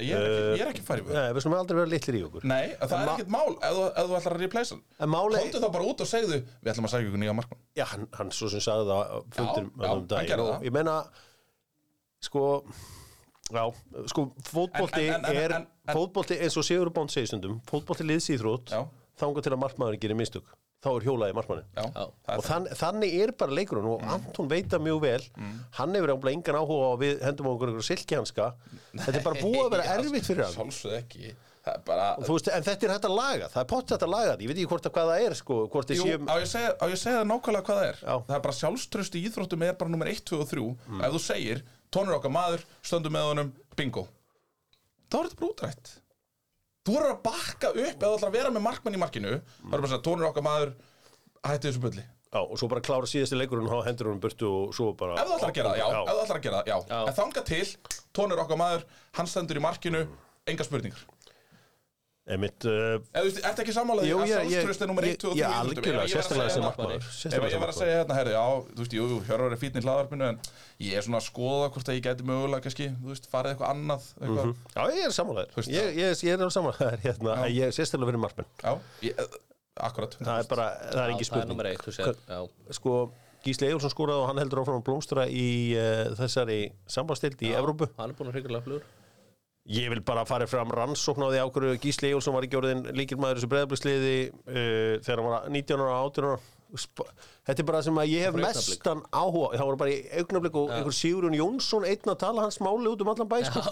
C: ég er ekki, ég er ekki farið í vörð
A: Nei, við slum aldrei vera litlir í okkur.
C: Nei, það er
A: ma-
C: ekkert mál ef þú, ef þú ætlar að replacea hann
A: En máli,
C: Komdu þá bara út og segðu, við ætlum að segja ykkur nýja markmann
A: já, hann, hann svo sem sagði það á fundinum
C: Já, já,
A: um daginn
C: hann gerði
A: og
C: það.
A: Ég meina, sko, já, sko, fótbolti
C: En- en- en- en-
A: er,
C: en- en-
A: fótbolti eins og Sigur Bánd segir stundum, fótbolti liðsýþrótt,
C: Já.
A: þangað til að markmaðurinn gerir mistök. Þá er hjólaði markmanni.
C: Já,
B: Já.
C: það Mm. er
A: Og þann, þannig er bara leikurinn og Anton veit það mjög vel
C: Mm.
A: hann hefur ámlega engan áhuga á að við hendum á okkur einhverju silkihanska þetta er bara búið að vera erfitt fyrir hann
C: Sálsuð ekki, það er bara
A: Þú veist, en þetta er hægt að laga, það er pott hægt að laga þetta, ég veit ekki hvort að hvað það er, sko, hvort þið
C: Jú,
A: séum,
C: á ég að segja, á ég að segja það nákvæmlega hvað það er
A: Já. Mm.
C: Það er bara sjálfströst í íþróttum er bara nummer 1, 2 og 3 Ef þú segir, tónur okkar maður, stöndum með honum, bingo Þá er þetta bara útrætt Þú verður að bakka upp eða ætlar að vera með markmann í markinu Það er bara að segja, tónur okkar maður, hætti þessu bulli
A: já, og svo bara klára síðasti leikurinn og þá hendur hún um burtu og svo bara...
C: Ef þú ætlar að gera það, já, ef þú ætlar að gera það, já,
B: Já.
C: En þanga til, tónur okkar maður, hann stendur í markinu, enga spurningar
A: Einmitt, uh,
C: Eða, þú veist, ertu ekki sammála því
A: Jú,
C: að
A: ég- ég-
C: sjálfströst er nummer 1, 2 og
A: ég-
C: 3
A: já, algjörlega, sérstaklega sem markmaður,
C: Ef
A: sérstaklega
C: ég
A: sem
C: var að segja hérna, herri, já, þú veist, jú, jú, Hjörvar er fínn í hlaðarpinu en ég er svona að skoða hvort að ég gæti mögulega kannski, þú veist, farið eitthvað annað eitthvað.
A: já, ég er samanlegaður,
C: veist
A: ég, ég, ég er samanlegaður, hérna, en ég er sérstaklega fyrir markmenn,
C: Já, ég, eh, akkurat
A: það er bara, það er
B: já,
A: engin
B: það er nummer
A: spurning.
B: eitt, þú segir, já,
A: Sko, Gísli Egilson skóraði og hann heldur áfram að blómstra í uh, þessari sambandstildi í Evrópu.
B: hann er búin að hryggurlega flugur
A: Ég vil bara fara fram rannsókn á því ákvörðu Gísli Egilson var ekki orðin líkilmaður þessu breyðabliksliði uh, þegar hann var 19 ára, 18 ára Sp- Þetta er bara sem að ég hef
B: Bara augnablik.
A: mestan áhuga Það voru bara í augnablik og einhver Sigurjón Jónsson einn að tala hans máli út um allan bæ sko.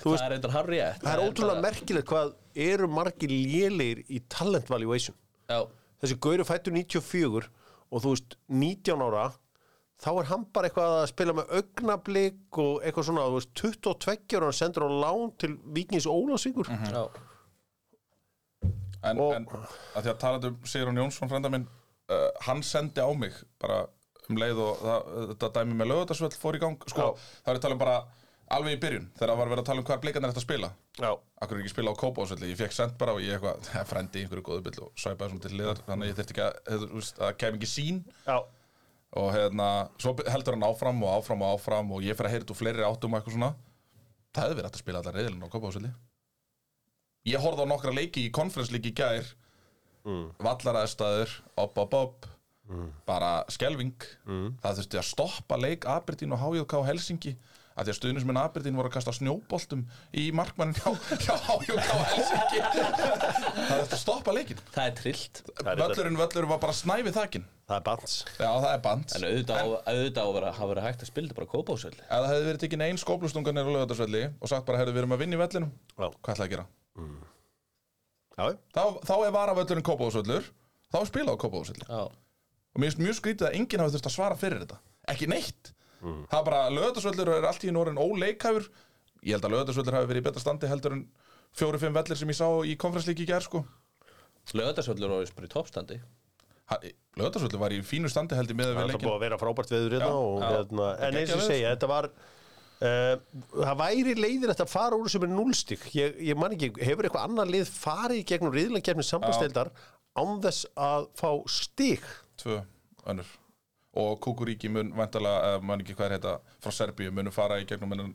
B: það er eitthvað harrið
A: Það er ótrúlega merkilegt hvað eru margir lélir í talent valuation
B: já,
A: Þessi gauri fættur 94 og þú veist, 19 ára þá er hann bara eitthvað að spila með augnablík og eitthvað svona, þú veist, 22 ára hann sendur á lán til Víkings Ólafsvíkur
B: Já,
C: En,
A: Og-
C: en að því að talandi um Sigrun Jónsson frenda minn, uh, hann sendi á mig bara um leið og það, þetta dæmi með lögutarsvöld fór í gang sko, það var ég að tala um bara alveg í byrjun þegar það var verið að tala um hvað blikarnir ætti að spila
A: Já,
C: Akkur er ekki að spila á Kópásvöldi, ég fekk sendt bara og ég eitthvað, "Ha, frendi í einhverju góðu byll og svæpaði svona til liðar, þannig að ég þyrfti ekki að, þetta, þú veist, það kem ekki sín
A: já,
C: og hérna, svo heldur hann áfram og áfram og áfram og ég fer að heyra þetta úr fleiri áttum og eitthvað svona það hefði verið hægt að spila allar reyðilinn á Kópásvöldi ég horfði á nokkra leiki í konferensleiki í gær mm. vallaraðstæður, op, op, op bara skelving það þurfti að stoppa leik Aberdeen og HJK Helsingi að því að stuðnismenn Aberdeen voru að kasta snjóboltum í markmannin hjá, hjá HJK Helsingi það þurfti að stoppa leikin
B: það er trillt
A: er þetta-
C: völlurinn, völlurinn var bara snæfið þakin
A: það er bans
C: já það er band
B: En auðvitað á- auðvitað á að vera- hafa verið hægt að spila þetta bara kópa á svolítið
C: Ef það hefði verið tekin ein skóplustunga nýra lögatarsvelli og sagt bara, heyrðu, við erum að vinna í vellinum
A: Já.
C: Hvað ætlaði að gera?
A: Já,
C: Þá, þá er varavöllurinn kópavöðsvöllur Þá er spilað á kópavöðsvöllur
B: Já,
C: Og mér finnst mjög skrítið að enginn hafi þurft að svara fyrir þetta Ekki neitt
A: Mm.
C: Það er bara, lögatarsvöllur er allt í einu orðin óleikhæfur Ég held að lögatarsvöllur hafi verið í betra standi heldur en fjóri-fimm vellir sem ég sá í konferenslíki í gær sko
B: lögðarsvöldur á Ísbúri toppstandi
C: Lögatarsvöllur var í fínu standi heldur með að
A: það
C: við
A: er
C: leikin
A: búið að vera frábært veður hérna
C: Já,
A: og
C: já.
A: hérna, en eins og
C: Geggjað
A: ég segja, þetta var Uh, það væri leiðilegt að fara úr sem er núlstík, ég, ég man ekki hefur eitthvað annað lið farið í gegnum riðlangefni sambandsdeildar án þess að fá stík
C: tvö önnur og Kukuríki mun væntalega, eða mann ekki hvað er heita frá Serbíu, munu fara í gegnum en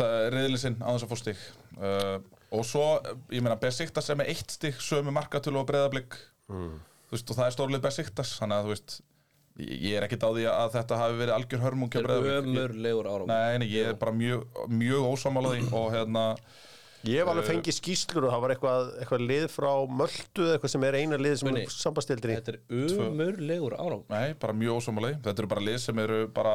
C: það er reyðlinn sinn á þess að fór stig uh, og svo, ég meina Besiktas er með eitt stig, sömu markatölu og breyðablík þú veist, og það er stórlið Besiktas þannig að þú veist, ég ég er ekki á því að þetta hafi verið algjör hörmungi
B: Það er ömurlegur ára
C: Nei, nei, ég er bara mjög, mjög ósámála því og hérna,
A: Ég hef alveg fengið skýslur og það var eitthvað, eitthvað lið frá Möltu eða eitthvað sem er eina lið sem
B: Gunni.
A: er sambastildir í.
B: Þetta er ömurlegur ára
C: Nei, bara mjög ósámálaði. Þetta eru bara lið sem eru bara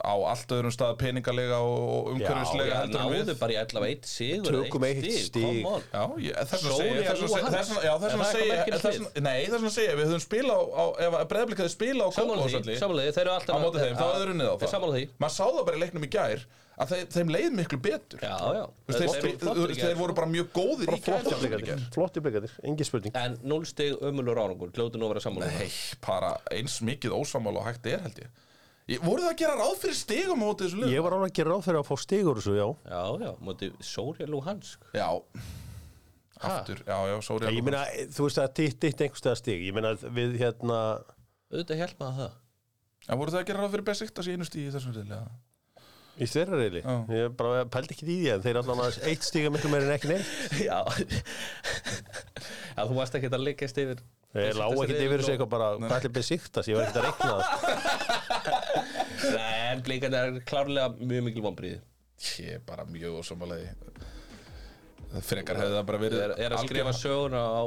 C: á allt öðrum stað peningalega og og umhverfislega
B: Já,
C: heldur en
B: náðu
C: við.
B: bara í 11-1 sigur eða
A: Tökum eitt stig.
B: come on.
C: Já, ég, þess vegna
B: Sóri
C: segi
B: að
C: þess vegna
B: lúga
C: segi-
B: hans.
C: þess vegna- já, þess
B: En það
C: vegna
B: kom
C: segi
B: ekki
C: ég-
B: inn
C: þess vegna- Nei, þess vegna segi ég, við höfum spila á, á ef að Breiðablik hefði spila á
B: Sammála því,
C: Kópavöðsvelli
B: sammála því, þeir eru alltaf
C: á móti þeim, þá
B: Já,
C: hefur unnið
B: ég
C: á
B: er
C: það
B: sammála því.
C: Maður sá það bara í leiknum í gær að þeim, þeim leið miklu betur
B: Já, já
C: Þú veist,
B: Þeir
C: Þeir,
B: voru
C: þeir,
B: flottir í
C: þeir,
B: gær.
C: þeir voru bara mjög góðir í gær
A: Flotti blikandir, flotti blikandir, engin spurning.
B: En 0 stig ömurlegur árangur, gljótu nú að vera sammála um það.
C: Nei, bara eins mikið ósamála og hægt er held ég, ég Voru það að gera ráð fyrir stigum á móti þessu lög?
A: Ég var alveg að gera ráð fyrir að fá stigur þessu, já.
B: Já, já, móti Sóri Luhansk
C: Já Aftur, já, já, sorry
A: Ég meina, þú veist að ditt, ditt einhverstað stig. Ég meina, við hérna,
B: Auðvitað hjálp maður það
C: En voru það að gera ráð fyrir Besiktas í einu stíð í þessum reyðlega?
A: í þeirra reyli,
C: Já.
A: ég bara pældi ekki í því en þeir allan aðeins eitt stiga miklu meir en ekki neitt.
B: Já Já, þú varst ekki að liggast yfir
A: Ég lá ekki yfir þessu eitthvað bara, hvað ætli besiktast, ég var ekkert að reikna það.
B: Nei, en blíkandi er klárlega mjög mikil vonbríði
C: Ég er bara mjög ósamalegi Frekar hefði það bara verið
B: er, er að skrifa
C: algjör-
B: söguna á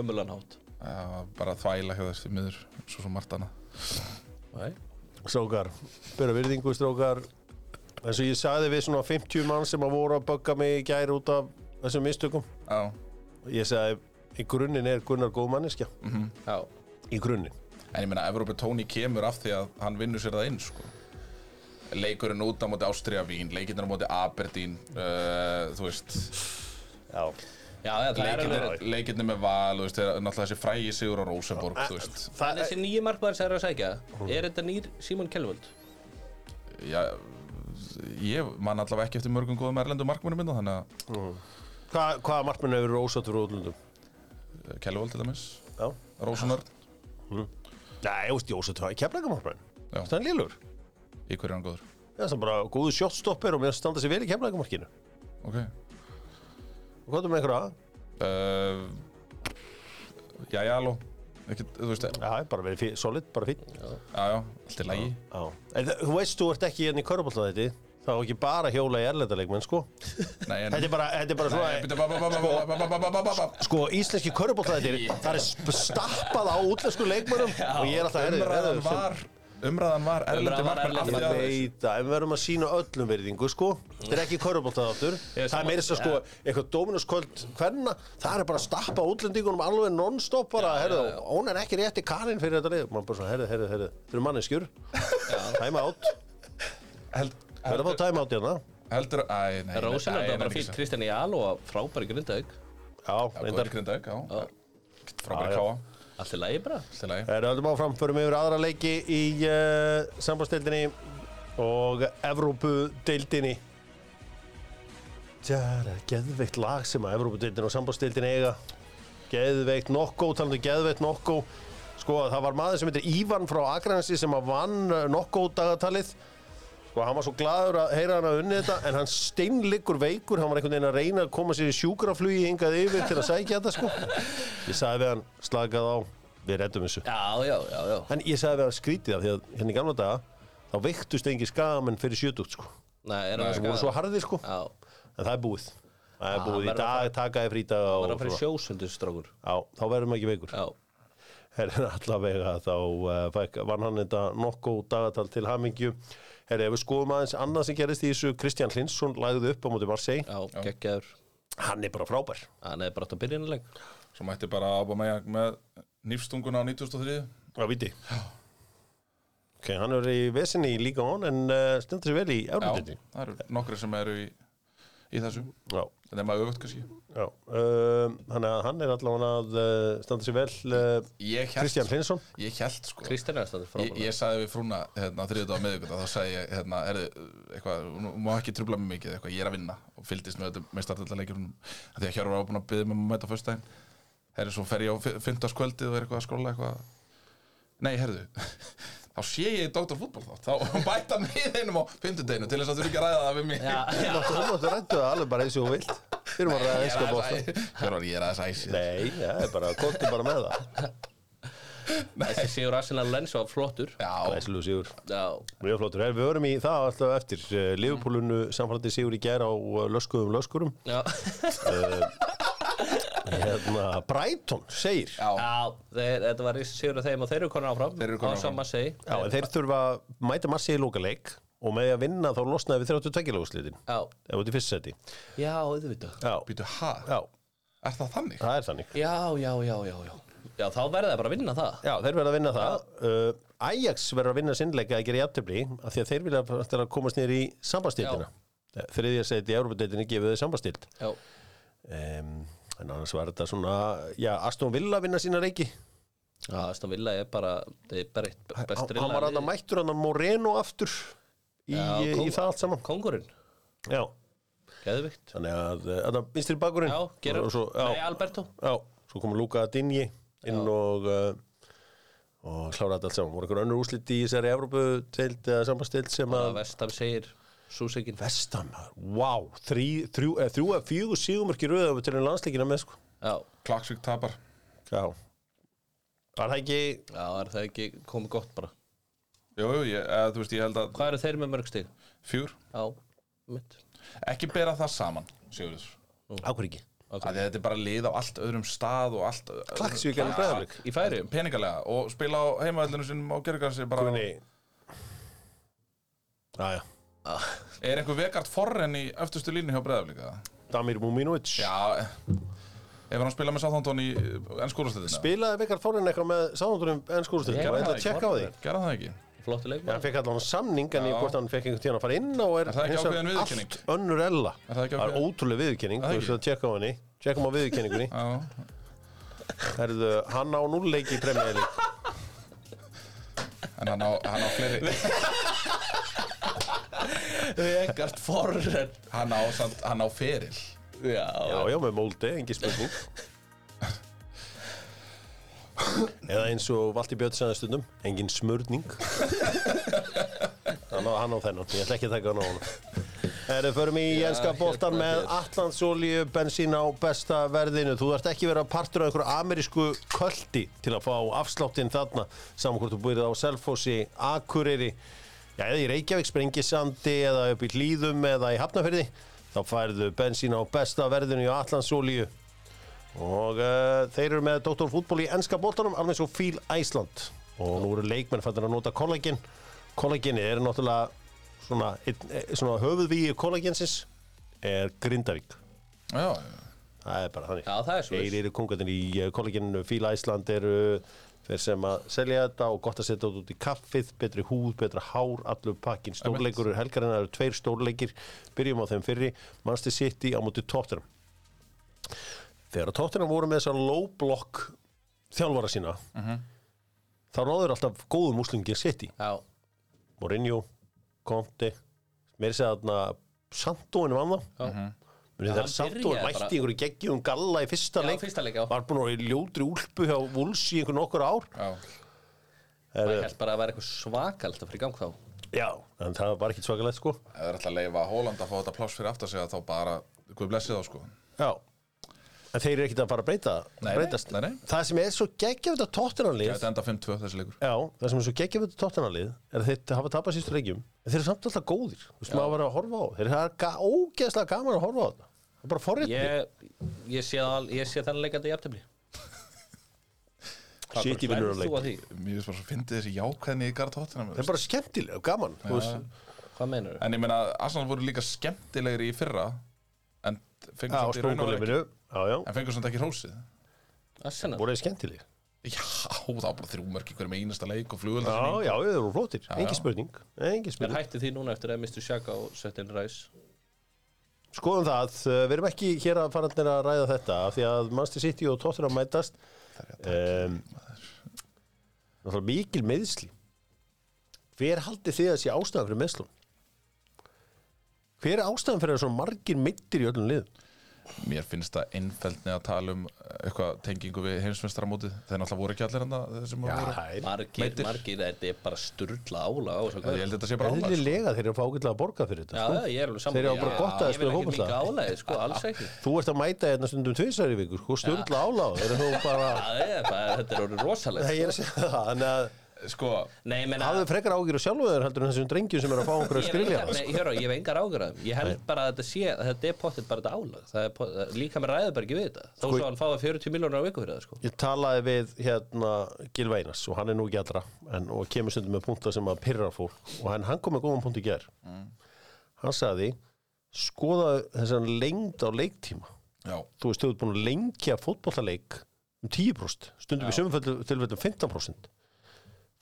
B: ömurlanhátt
C: Já, bara þvæla hjá þessi miður Svo svo margt annað
B: Nei
A: Strókar, byrja virðingu strókar. Eins og ég sagði við svona 50 mann sem að voru að bögga mig í gær út af þessum mistökum.
C: Já,
A: ég sagði í grunninn er Gunnar góð manneskja
B: Já
A: í grunninn
C: en ég meina Evrópi Tóni kemur af því að hann vinnur sér það inn sko. Leikurinn út á móti Ástria Vín Leikirnir á móti Aberdeen uh, Þú veist
A: já.
B: Já, já, það er alveg
C: Leikirnir, leikirnir með Val þú veist, þeir- Náttúrulega þessi frægi sigur á Rosenborg Þú veist
B: En þessi nýju markmaður sem er að sækja, er þetta nýr Simon Kjellvöld?
C: Já, ég man allavega ekki eftir mörgum góðum erlendu markmennum minna Þannig að
A: Mm. Hva, hvaða markmenn hefur rósatur úr útlundum
C: uh, Kjellvold til dæmis
A: já
C: Rósunar
A: Nei, ég veist, Jósatur hafi kemleika markmenn
C: Mhm. Já.
A: Það er lélur
C: Í hverju er hann góður
A: Það er bara góðu sjóttstoppir og mér standa sér vel í kemleika markinu
C: okay.
A: og hvað er með einhverja?
C: uh, Jæja, aló Ekkert, þú veist, já,
A: Já, það er bara verið fí- solid, bara fín
C: já, allt er lægi
A: Já. En þa- þú veist, þú ert ekki hérna í körbólta þetta Það er ekki bara að hjóla í erlendaleikmenn, sko
C: Nei, en
A: Þetta er bara, þetta er bara svona
C: Nei,
A: Sko, íslenski körbólta þetta Það er sp- stappað á útlensku leikmennum Og ég er alltaf erður
C: umræðan var umræðan var erlendi
B: Umræðan var
C: markmann af
B: erlendi
A: Ég
C: því að
A: veit að við verðum að sína öllum verðingu sko Þetta er ekki körubóltaðáttur
B: Ég er
A: Það er meira þess að sko eitthvað Dominuskvöld hverna Það er bara að stappa útlendingunum alveg non-stop bara herðu, Hún er ekki rétti karinn fyrir þetta lið Man bara svona, herðu, herðu, herðu Þeir eru manneskjur Time out
C: held,
A: Verðum að fá time out hérna
C: heldur æ, nei, nei,
B: Rósin
C: nei,
B: er
C: nei,
B: bara
C: nei,
B: fín
C: ekki
B: Kristján Jál og frábæri grindaug
A: Já,
C: svo.
A: reyndar
C: Góður Grindavík, já.
A: Já,
C: frábæri
A: já.
C: káa
B: Allt í lagi bara
C: allt í lagi.
A: Það er öllum Eh, áfram, förum yfir aðra leiki í uh, sambandstildinni og Evrópudeildinni. Það er geðveikt lag sem að Evrópudeildin og sambandstildin eiga. Geðveikt nokkó, talandi um geðveikt nokkó. Sko, það var maður sem heitir Ívan frá Akranesi sem að vann nokkó dagatalið. Sko, hann var svo gladur að heyra hann að unni þetta en hann steinliggur veikur, hann var einhvern veginn að reyna að koma sér í sjúkraflugi hingað yfir til að sækja þetta, sko. Ég sagði við hann, slakað á, við reddum þessu.
B: Já, já, já, já
A: En ég sagði við að skrítið af því að hérna í gamla daga þá veiktust engi skamenn fyrir sjötugt sko.
B: Nei, er hann
A: Það voru
B: skaðað?
A: svo harðir sko.
B: Já,
A: En það er búið. Það er
B: Já,
A: búið í
B: verður að
A: dag, taka þér frítaga
B: það var
A: og
B: að fara í
A: svona.
B: sjósundu strákur
A: Já, þá verðum við ekki veikur.
B: Já,
A: Herri, allavega þá uh, fæk, vann hann þetta nokkuð dagatal til hamingju. Herri, ef við skoðum aðeins annað sem gerist í þessu, Kristján Hlinsson lagði upp á móti Marseille.
B: já, geggjaður
A: Hann er bara frábær.
B: Hann er bara átt að byrja innanleg
C: svo mætti bara ába með, með nýfstunguna á 2003
A: Já, viti. Ok, hann er í vesinni í líka hon en uh, stendur sér vel í
C: já,
A: Európa-dildinni.
C: það eru nokkri sem eru í, í þessu
A: Já.
C: en það er maður öfugt kannski
A: Já, um, þannig að hann er allavega að uh, standa sér vel uh,
C: ég
A: Kristján
C: held,
A: Hlinsson
C: ég held sko
B: Kristján er stættur
C: Ég,
B: frábæri
C: ég sagði við frúna hérna, þriðudag á miðvikudag, þá sagði ég hérna, er, eitthvað, nú má ekki trubla mig mikið eitthvað, ég er að vinna og fylgdist með þetta með startaldaleikirum því að Hjörvar var búin að byggja mig um að mæta á föstudaginn herri, svo fer ég á fymtaskvöldið og er eitthvað að skrolla eitthvað nei, herðu, þá sé ég Dr. Fútbol þá, þá bæta hann við einum á fymtudaginu til þess að þú ekki að ræða það við mig
B: Já, já,
A: Þú máttu rættu það alveg bara eins og þú vilt Við erum að ræða
C: Ég er
A: einska
C: aðeins
A: bóta
C: æ- Hjörvar, ég er aðeins æsið
A: Nei, já, það er bara, kontu bara með það
B: þessi Sigur Arsenal Lens var flottur
C: já,
A: Læslu sigur,
B: Já,
A: mjög flottur Her, Við vorum í það alltaf eftir uh, Liverpoolunu samfaldið sigur í gær á uh, löskuðum löskurum
B: já,
A: hérna, Brighton segir Já,
C: já,
B: já þeir, þetta var risi sigur að þeim og þeir eru konar áfram
C: Þeir eru
B: Á
C: komin áfram.
B: sama segi
A: en þeir þurfa að mæta massi í lókaleik og með því að vinna þá losnaði við 32 lókuslitin
B: Já,
A: ef þetta er fyrst seti
B: já, auðvitað
A: Já,
C: býtu, ha,
A: já,
C: er það þannig?
A: það er þannig
B: Já, já, já, já, já Já, þá verða það bara að vinna það
A: Já, þeir verða að vinna það uh, Ajax verður að vinna sinnleika að gera jafntefli af því að þeir vilja að komast nýr í sambastildina þriðja seti í Európa-deildinni gefið þau sambastild
B: Já,
A: um, en annars var þetta svona já, Aston Villa vinna sína reiki
B: já Aston Villa er bara þeir er bara eitt
A: hann
B: best
A: hann var hann mættur hann Moreno aftur í,
B: Já,
A: í
B: kom-
A: það allt saman
B: Kongurinn,
A: já,
B: geðvikt
A: þannig að uh, þarna vinstri bakurinn
B: Já, Gerard,
A: svo,
B: nei,
A: já,
B: Alberto
A: já, svo kom Luka Dinji inn og uh, og klára þetta allt saman, voru einhver önnur úsliti í þessari Európa-deild eða sambastild sem að
B: Það vestam segir Súsegin
A: Vestam, wow, þrjú, þrjú, eh, þrjú að fjögur sígumörki rauða til enn landsleikina með sko.
B: Já,
C: Klaksvík tapar
A: Já. Var það ekki,
B: já, er það ekki komið gott bara
C: Jú, jú, ég, eða, þú veist, ég held að
B: Hvað eru þeir með mörg stig?
C: fjúr
B: Já, mitt
C: ekki bera það saman Sigurður
A: ákveð ekki,
C: okay. að þetta er bara lið á allt öðrum stað og allt
A: Klaksvík er bregðarleik.
B: Í færiðum?
C: peningalega og spila á heimavellinu sinum á gerðgarsi bara
A: Gunni. Æja,
C: er einhver vegart forren í öftustu línu hjá bregðarleika
A: Damir Muminovic.
C: já eh, ef hann spila með Sáþóntón í eh, ennskórastetina
A: Spilaði Vikar Þorinn eitthvað með sáðundunum enn skúrustöldum,
B: Ég
A: ég
B: var
A: veit
B: það
A: að tjekka á því.
C: gera það ekki
B: Flottu
A: Já, hann
B: leikmann
A: fekk allan samning en ég
C: Já.
A: hvort hann fekk einhvern tíðan að fara inn og er,
C: Er það ekki
A: hins vegar
C: ákveðin viðurkenning?
A: allt önnur ella.
C: Er það ekki
A: Það er
C: ákveðin-
A: ótrúlega viðurkenning,
C: Er það
A: þú veist
C: ekki?
A: að tjekka á henni, tjekkum á viðurkenningunni.
C: já,
A: Herðu, hann á núlleiki í premjæli.
C: en hann á, hann á fleiri
B: Vegard Forren
C: hann á, samt, hann á feril
B: Já,
A: Já, já, með moldi, engi spurning Eða eins og Valdi Björn sagði stundum, engin smörning Hann á, hann á þennan, ég ætla ekki að taka hann á hann Erðu, förum í enska boltan
B: hérna
A: með
B: þér.
A: Atlansolíu, bensín á besta verðinu Þú þarft ekki verið að partur á einhverju amerísku köldi til að fá afsláttinn þarna Saman hvort þú búið á Selfossi, Akureyri Já, eða í Reykjavík, Sprengisandi eða upp í Hlíðum eða í Hafnafyrði Þá færðu bensín á besta verðinu í Atlansolíu Og uh, þeir eru með Dr. Fútból í enska boltanum, alveg svo Fíl Æsland. Og nú eru leikmenn fættir að nota kollaginn kollageni er náttúrulega svona, einn- eh, svona höfuðvíi kollagensins er Grindavík
C: Já, já.
A: það er bara þannig
B: Já, það er svo
A: Þeir eru kongatinn í eh, kollegininu Fíla Ísland eru þeir sem að selja þetta og gott að setja þetta út í kaffið, betri húð, betra hár, allur pakkin, stórleikur eru helgarinn, það eru tveir stórleikir, byrjum á þeim fyrri, Manchester City á móti Tottenham. Þegar að Tottenham voru með þessa low block þjálfara sína,
B: Mhm.
A: þá náður alltaf góðum úslingir City.
B: Já,
A: Mourinho, Conte, mér segja þarna Santóinu vann þá.
B: já.
A: Munið
B: Já,
A: þegar
B: hann
A: Santóinu
B: byrjaði
A: mætti
B: bara-
A: einhverju geggjum galla í fyrsta
B: já
A: leik
B: fyrsta leik, já
A: var búin að vera í ljótri úlpu hjá Wolves í einhvern okkur ár
C: já.
B: Maður
A: er,
B: held bara að vera eitthvað svakalt að fyrir gang þá
A: já, en það var ekki svakalegt sko
C: Ef það er alltaf að leifa Hóland að fá þetta pláss fyrir aftar sig að þá bara, guð blessi þá sko.
A: já, en þeir eru ekkert að fara að breyta
C: nei,
A: breytast.
C: nei, nei.
A: það sem er svo geggjafut að tottenanlið
C: Þetta enda 5-2 þessi leikur.
A: já, það sem er svo geggjafut að tottenanlið er að þeir hafa tapað sístu leikjum en þeir eru samt alltaf góðir, þú veist maður var að horfa á þá. þeir eru ga ógeðslega gaman að horfa á þetta það er bara forrétt
B: Ég, ég sé, al, ég sé þannig leikandi í aftabli
A: City vinnur á leik.
C: Mér finnst bara svo fyndið þessi jákvæðni í Garðhóttina.
A: það er bara skemmtilega og gaman þú veist.
B: Hvað meinar
C: En ég meina, Arsenal voru líka skemmtilegri í fyrra, en fengur
A: já,
C: samt í raun og veru
A: spókuleiminu
C: ekki,
A: já, já,
C: en fengur samt ekki hrósið.
B: Arsenal
A: voru þeir skemmtilega
C: Já, það var bara þrjú mörk í hverjum einasta leik og flugvöld.
A: já, já, þeir eru flóttir,
C: Já,
A: engin
C: já.
A: spurning engin
B: Er
A: spurning
B: hættið því núna eftir að mistu Sjaka og Söttin Ræs
A: Skoðum það, uh, við erum ekki hér að fara að ræða þetta af því að Manchester City og Tottenham mætast um, Náttúrulega mikil meðsli Hver haldið þið að sé ástæðan fyrir meðslum? Hver er ástæðan fyrir að svona margir meittir í öllum liðum?
C: Mér finnst það einfeldni að tala um eitthvað tengingu við heimsmeistaramótið. Þeir náttúrulega voru ekki allir hann það sem að voru.
A: það
B: Margir,
C: Meiddir.
B: margir, þetta er bara sturla ála á þessu
C: Ég
B: gauðum.
C: held að þetta sé bara álag. sko.
A: Eðlilega þeir eru að fá ágætlega að borga fyrir
B: Já,
A: þetta sko.
B: já, ég er alveg saman
A: Þeir eru bara gott að spila fótbolta.
B: Ég vil ekki líka álæði, sko, alls ekki
A: Þú ert að mæta hérna stundum tvisar í viku sko, stjórnla áláð Þeir eru þú bara
B: Það er bara, þetta er orðið rosalegt
A: Nei, ég er að segja það Þannig að
C: Sko,
B: Nei, ég meina
A: hafðu frekar ágjur og sjálfuður heldur en þessum drengjum sem eru að fá okkur að
B: Ég hef
A: skrilja
B: engar- Nei, hörru, ég hef engar ágjörðum Ég held bara að þetta sé, að þetta er pottet bara þetta álag Það er pottet, líka með ræður bara ekki við þetta Þó
A: Sko-
B: svo hann fáið 40 miljónar á viku fyrir það, sko
A: Ég talaði við hérna Gilva Einars og hann er nú ekki allra en, og kemur stundum með punktar sem að pyrra fólk og hann, hann kom með góðan punkt í ger hann sagði skoða þessan lengd á leiktíma
C: já,
A: þú veist, þú ert búin að lengja fótbollaleik um 10% stundum í sömum tilfellum 15%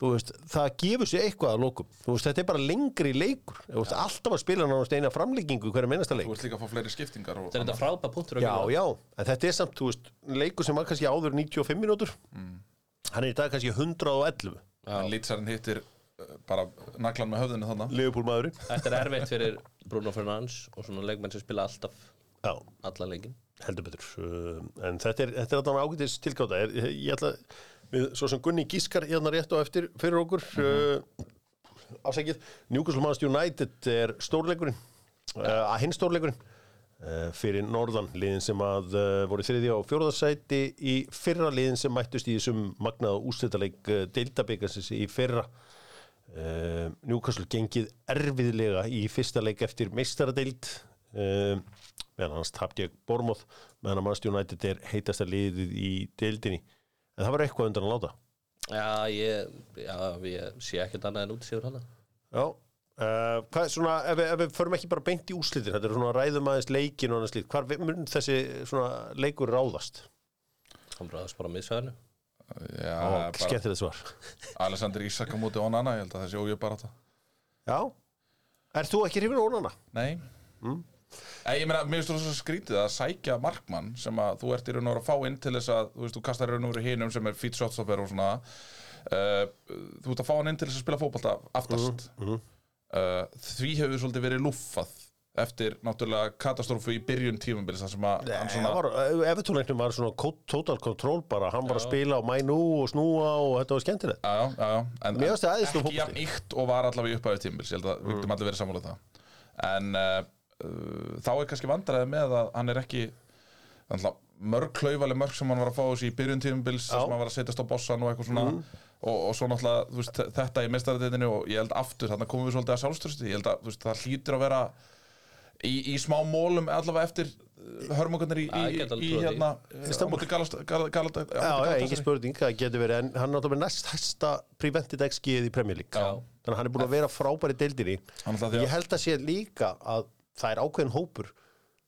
A: þú veist, það gefur sér eitthvað að lokum þú veist, þetta er bara lengri leikur þú veist, alltaf að spila nánast eina framleggingu í hverjum einasta leik
C: þú ert líka að fá fleiri skiptingar og
B: Þetta er þetta frábæð punktur á
A: Já,
B: Gylfa.
A: já, en þetta er samt, þú veist, leikur sem var kannski áður 95 mínútur Hann er í dag kannski 111
C: en litsarinn hittir uh, bara naglan með höfðinu þannig
A: Leifupúl maðurinn
B: Þetta er erfitt fyrir Bruno Fernandes og svona leikmenn sem spila alltaf
A: Já,
B: alla leikin
A: heldur betur Um, En þetta er, þetta er alltaf ágætis tilgáta ég, ég, ég ætla, við, svo sem Gunni Gískar hérna rétt á eftir fyrir okkur mm Afsækið, Newcastle Manchester United er stórleikurinn uh, Hinn stórleikurinn uh, fyrir norðan liðin sem að uh, voru í þriðja og fjórðarsæti í fyrra liðin sem mættust í þessum magnaða úrstættaleik uh, deildabikansins í fyrra uh, Newcastle gengið erfiðlega í fyrsta leik eftir meistaradeild uh, meðan hans tapti ég Bormóð meðan að Manchester United er heitasta liðið í deildinni en það var eitthvað undan að láta
B: Já, ég, já, ég sé ekkert annað en út sér hana
A: Já Uh, hvað, svona, ef, við- ef við förum ekki bara beint í úslitin þetta er svona ræðum aðeins leikin og annars lít hvar mun þessi svona leikur ráðast
B: Hann bráðast bara á miðsvæðinu
C: já,
A: og
C: bara
A: skemmtilegt svar
C: Alexander Isak á móti Onana, ég held að það sé ójöf bara þetta
A: Já, er þú ekki hrifin ónana?
C: nei
A: Mm.
C: Ei, ég meina, mér finnst þú svo skrítið að sækja markmann sem að þú ert í raun og veru að fá inn til þess að þú veist, þú kastar í raun og veru hinum sem er fýt shotstopper og svona uh, þú ert að fá hann inn til þess að spila fótbolta aftast
A: Mhm,
C: uh, því hefur svolítið verið lúffað eftir náttúrulega katastrófu í byrjun tímabilis þar sem að hann
A: Nei,
C: svona-
A: það var, efutúleiknum var svona kó- total control bara, hann var að spila og mæ nú og snúa og þetta var skemmtilegt
C: Já, já, já, já. En,
A: Mér finnst það æðislegur fótbolti.
C: Ekki
A: Mm.
C: jafn ykt og var allavega í upphæðu tímils Ég held að við getum allir verið sammála um það En uh, uh, þá er kannski vandræði með að hann er ekki allavega, mörg klaufaleg mörg sem hann var að fá þessi í byrjun tímils
A: Já. Mm.
C: sem hann var að setjast á bossan og eitthvað svona og, og svo náttúrulega þú veist, þetta í mestaradeitinu og ég held aftur þannig komum við svolítið að sjálfströsti ég held að þú veist, það hlýtur að vera í, í smá mólum allavega eftir uh, hörmungarnir í,
B: Já, ég
C: í,
B: get alveg
C: í
B: trúað því.
C: hérna
A: Já,
C: Istanbul
A: já, engin
C: Galatasaray
A: spurning, það getur verið en hann er náttúrulega með næst hæsta prevented XG-ið í Premier League
B: Já.
A: þannig að hann er búin að vera frábæri deildinni
C: Hann ætlaði að-
A: ég held að sé líka að það er ákveðin hópur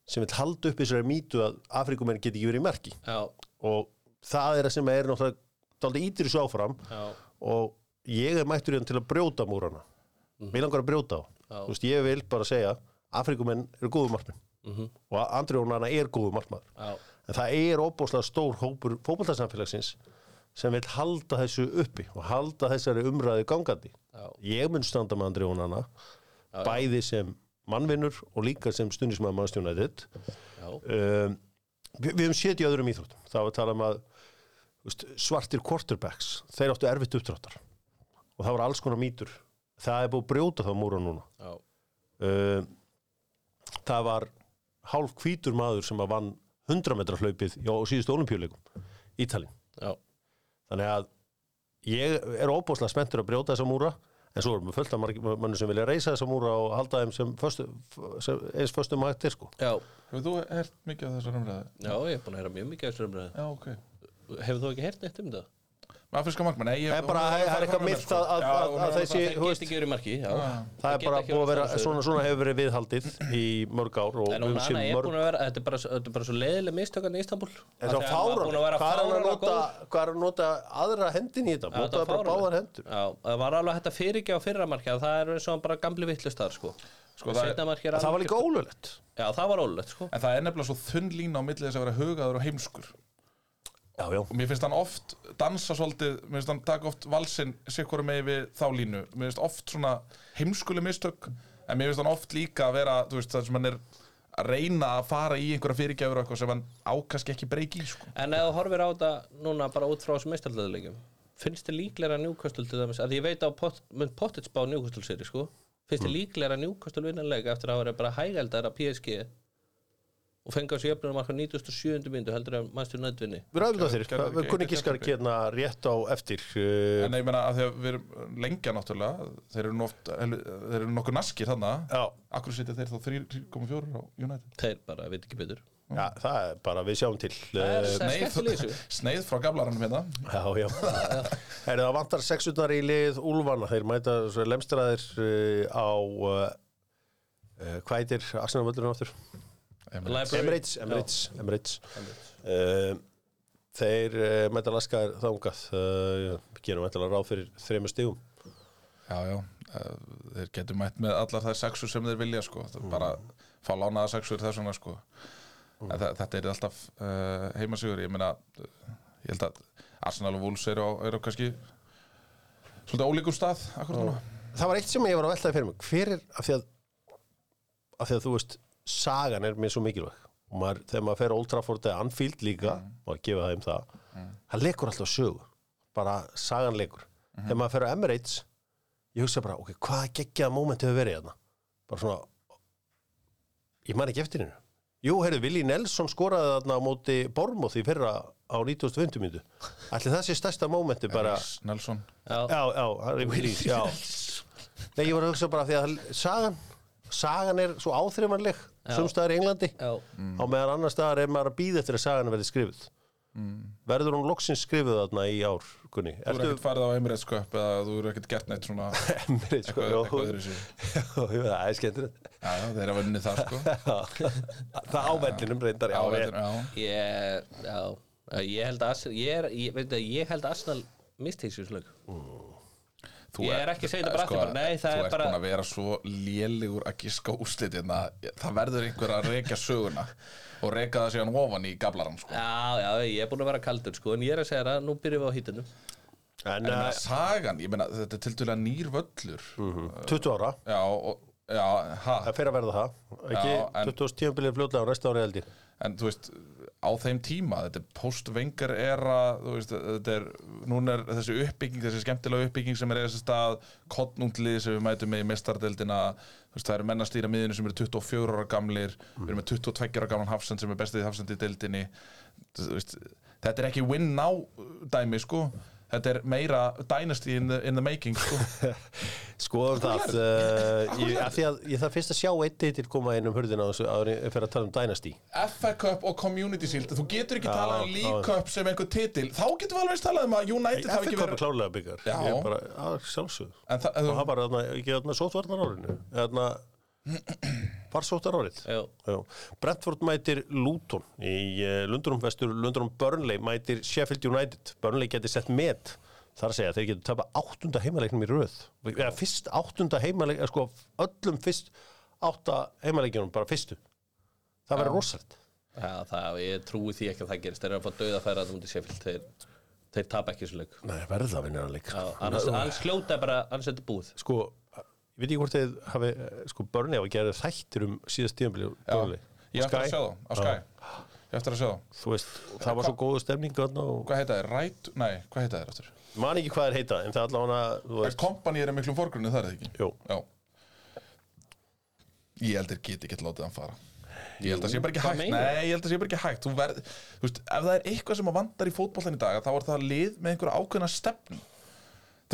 A: sem vil halda upp þessari mýtu að Afrikumenn get ekki verið í merki
B: já,
A: og það er að sem er náttúrulega dálítið ítir þessu áfram
B: já,
A: og ég er mættur hérna til að brjóta múrana mér langar að brjóta á
B: Mhm. Já.
A: þú veist, ég vil bara segja Afrikumenn eru góðu markmenn
B: Mhm.
A: og Andri Ónana er góðu markmaður
B: já,
A: en það er óbúslega stór hópur fótboltasamfélagsins sem vil halda þessu uppi og halda þessari umræðu gangandi
B: já,
A: ég mun standa með Andri Ónana
B: já.
A: bæði sem mannvinnur og líka sem stundismæður mannstjónaðið
B: já,
A: um, við, við höfum séð í öðrum íþróttum þá var talað um að þú veist, svartir quarterbacks, þeir áttu erfitt uppdráttar og það var alls konar mýtur það er búið að brjóta þá múra núna
B: já,
A: um, það var hálf hvítur maður sem að vann 100 metra hlaupið á síðustu olimpíuleikum Ítalin,
B: já,
A: þannig að ég er óbúslega spenntur að brjóta þessa múra en svo erum við fullt af margir- mönnum sem vilja reysa þessa múra og halda þeim sem, föstu, sem eins föstum hægt er sko
B: já,
C: Hefur þú hert mikið af þessar umræðu?
B: já, ég er búin að heyra mjög mikið af þessu umræðu.
C: Já, ok
B: Hefur þú ekki heyrt neitt um það?
C: Með afríska markmann, nei
A: Það er bara- það er eitthvað milt
B: sko.
C: sko.
A: að- að- að- að þessi- Þú
B: Þeir get
A: veist-
B: ekki verið í marki, já.
A: Það er
B: geta
A: bara
B: ekki
A: búið að vera,
B: orðið
A: svona, svona hefur verið viðhaldið í mörg ár og
B: En hún
A: séð
B: Anna er
A: mörg-
B: búin að vera, þetta er bara, svo- þetta er bara svo leiðileg mistökan í Istanbul.
A: En þá fáran,
B: Hún var búin að vera
A: hvað er hann að
B: fáran og
A: nota,
B: góð.
A: hvað er hann að nota aðra hendin í þetta?
B: Já, þetta
A: Nota
B: var
A: bara
B: fáránlegt.
A: báðar hendur.
B: Já, það var alveg hægt að fyrirgjá fyrra marki að það er eins og hann bara gamli vittlustar sko.
C: Sko,
B: sko
C: það er-
B: Seinna marki er
A: Það var
B: alveg-
A: líka ólulegt.
B: Já, það var ólögt sko
C: En það er nefnilega svo þunn lína á milli þess að vera hugaður og heimskur
A: Já, já.
C: Og mér finnst hann oft dansa svolítið Mér finnst hann taka oft valsinn Sikkur með við þá línu Mér finnst oft svona heimskuli mistök En mér finnst hann oft líka að vera þú veist, Það sem hann er að reyna að fara í einhverja fyrirgjafur og eitthvað sem hann ákaski ekki breyki í sko.
B: En ef þú horfir á þetta núna bara út frá þessum meistarleðilegum Finnst þið líklega njúkastul til dæmis að ég veit á pot, mynd pottitsbá njúkastul sér sko Finnst þið líklega njúkastul vinnanlega eftir að það vera bara hægældar að PSG og fengi á sig jöfnum marka 97. myndu heldur að mannstur nöðvinni
A: Við ræðum það
C: Gerðu- gerðu-
A: þér. Kunni
C: gerðu-
A: Gískar
C: gerðu-
A: hérna rétt á eftir. uh,
C: En ég meina að þegar við erum lengja náttúrulega Þeir eru, nú oft, þeir eru nokkuð naskir þannig
A: Já,
C: Akkur setja þeir þá 3,4 á United
B: Þeir bara, veit ekki betur
A: já, það er bara, við sjáum til.
B: Það er
A: Uh,
B: sem-
C: Sneið,
B: skemmtileg í þessu.
C: sneið frá gablaranum hérna
A: Já, já. Er það vantar sexutnar í lið Úlfana. Þeir mæta svo lemstraðir uh, á, uh, uh, hvað heitir Arsenal völlurinn áttur? Emirates, Emirates, Emirates. Uh, Þeir uh, mæta laskaðir þangað uh, gerum mæta ráð fyrir þremur stígum
C: Já, já, eh, þeir getur mætt með allar þær sexur sem þeir vilja sko. mm. bara fá lánaða sexur þess vegna sko. mm. þetta er alltaf uh, heimasigur, ég meina eh, ég held að Arsenal og Wolves eru, á, eru á kannski svolítið ólíkum stað akkur núna
A: Það var eitt sem ég var að veltaði fyrir mig Hver er, af því að af því að þú veist, sagan er mér svo mikilvæg og maður, þegar maður fer á Old Trafford eða Anfield líka, maður gefa þeim það það leikur alltaf sögu bara sagan leikur þegar maður fer á Emirates ég hugsa bara, ok, hvað geggjaða móment hefur verið hérna bara svona ég man ekki eftir hennu Jú, heyrðu, Willi Nelson skoraði þarna á móti Bormóð í fyrra á 1950 myndu. Ætli það sé stærsta mómenti bara...
C: Nelson
B: Já,
A: Já, já, Harry Willis, já Nei, ég var að hugsa bara því að það- sagan, sagan er svo áþreifanleg
B: Já.
A: sumstaðar í Englandi
B: já,
C: Mm.
A: á meðan annar staðar er maður að býða eftir að sagan verði skrifuð Verður hún loksins skrifuð þarna í ár, Gunni?
C: Mm. Þú eru
A: Ertu
C: ekkert farið á Emirates Cup eða þú eru ekkert gert neitt svona eitthvað,
A: emrið, sko? já.
C: eitthvað öðru sér
A: Jú, Það er skemmtilegt
C: Já, já, þeir eru að vinni það sko
A: Það ávellinum reyndar, já,
C: Já,
A: já,
C: þetta- já.
B: ég, já Ég held að Arsenal- ég, er- ég, veit að ég held að Arsenal mistíksvíslög
C: Þú sko,
B: Ég er ekki að segja þetta bara aftur bara, nei, það
C: þú
B: er
C: ert
B: bara-
C: búin að vera svo lélegur að gíska úrslitina það verður einhver að reka söguna og reka það síðan ofan í gablaran sko.
B: Já, já, ég er búin að vera kaldur sko, en ég er að segja það, nú byrjum við á hýtunum.
A: En
C: en
A: uh,
C: uh, sagan, ég meina þetta er til dæla nýr völlur
B: Mm.
A: 20 mhm, ára,
C: já, og, já, ha,
A: það fer að verða það Ekki
C: Já, en-
A: 2010 bilið fljótlega á resta ári held ég
C: en þú veist á þeim tíma, þetta er postvengar era, þú veist, þetta er núna er þessi uppbygging, þessi skemmtilega uppbygging sem er eða þessi stað, kottnunglið sem við mætum með í mestardeldina þú veist, það eru menn að stýra miðinu sem eru 24 ára gamlir við erum með 22 ára gamlan hafsend sem er bestið í hafsend í deldinni þú veist, þetta er ekki win now dæmi, sko þetta er meira dynasty in the, in the making sko.
A: Skoðum það uh, ég, af því að ég þarf fyrst að sjá eitt titil koma inn um hurðina á þessu áður en ég fer að tala um Dynasty
C: FA Cup og Community Shield þú getur ekki
A: Já,
C: talað um League
A: já.
C: Cup sem einhver titil þá getum við alveg eins talað um að United hafi
A: FA
C: ekki
A: Cup er
C: verið
A: klárlega byggar
C: Já.
A: Ég er bara, að sjálfsög
C: en það,
A: og hann bara, þarna, ekki þarna sótvarnar árinu þarna var sóttar árið
B: Já.
A: Já. Brentford mætir Luton í uh, Lundurum vestur, Lundurum Burnley mætir Sheffield United, Burnley getur sett met þar að segja að þeir getur tapa áttunda heimaleiknum í röð, eða fyrst áttunda heimaleik, eða sko öllum fyrst átta heimaleikjunum, bara fyrstu það verður rosalegt
B: Já, það, ég trúi því ekki að það gerist Þeir eru að fá döða færa það mútið séfild Þeir, þeir tapa ekki þessu leik
A: Nei, verða að vinna hann leik
B: Já, annars, annars hljóta bara, annars er þetta búið
A: sko, ég veit ekki hvort þið hafi, eh, sko Burnley hafi gerðið þættir um síðast tíðanbili Burnley
C: ég hef eftir að
A: Sky.
C: sjá það á Sky ég hef eftir að sjá það
A: þú veist, það var svo góðu stemning þarna og
C: hvað heita þeir? Right? Nei, hvað heita þeir aftur?
A: man ekki hvað er heita en það er allavega, þú veist,
C: Kompany er í miklum fórgrunni þar eða ekki?
A: jú
C: Já Ég held þeir geti ekki látið hann fara Ég held að sé bara ekki
B: hvað
C: hægt
B: meinar?
C: Nei, ég held að sé bara ekki hægt Þú verð, þú veist, Ef það er eitthvað sem að vandar í fótbollan í dag þá er það lið með einhverja ákveðna stefnu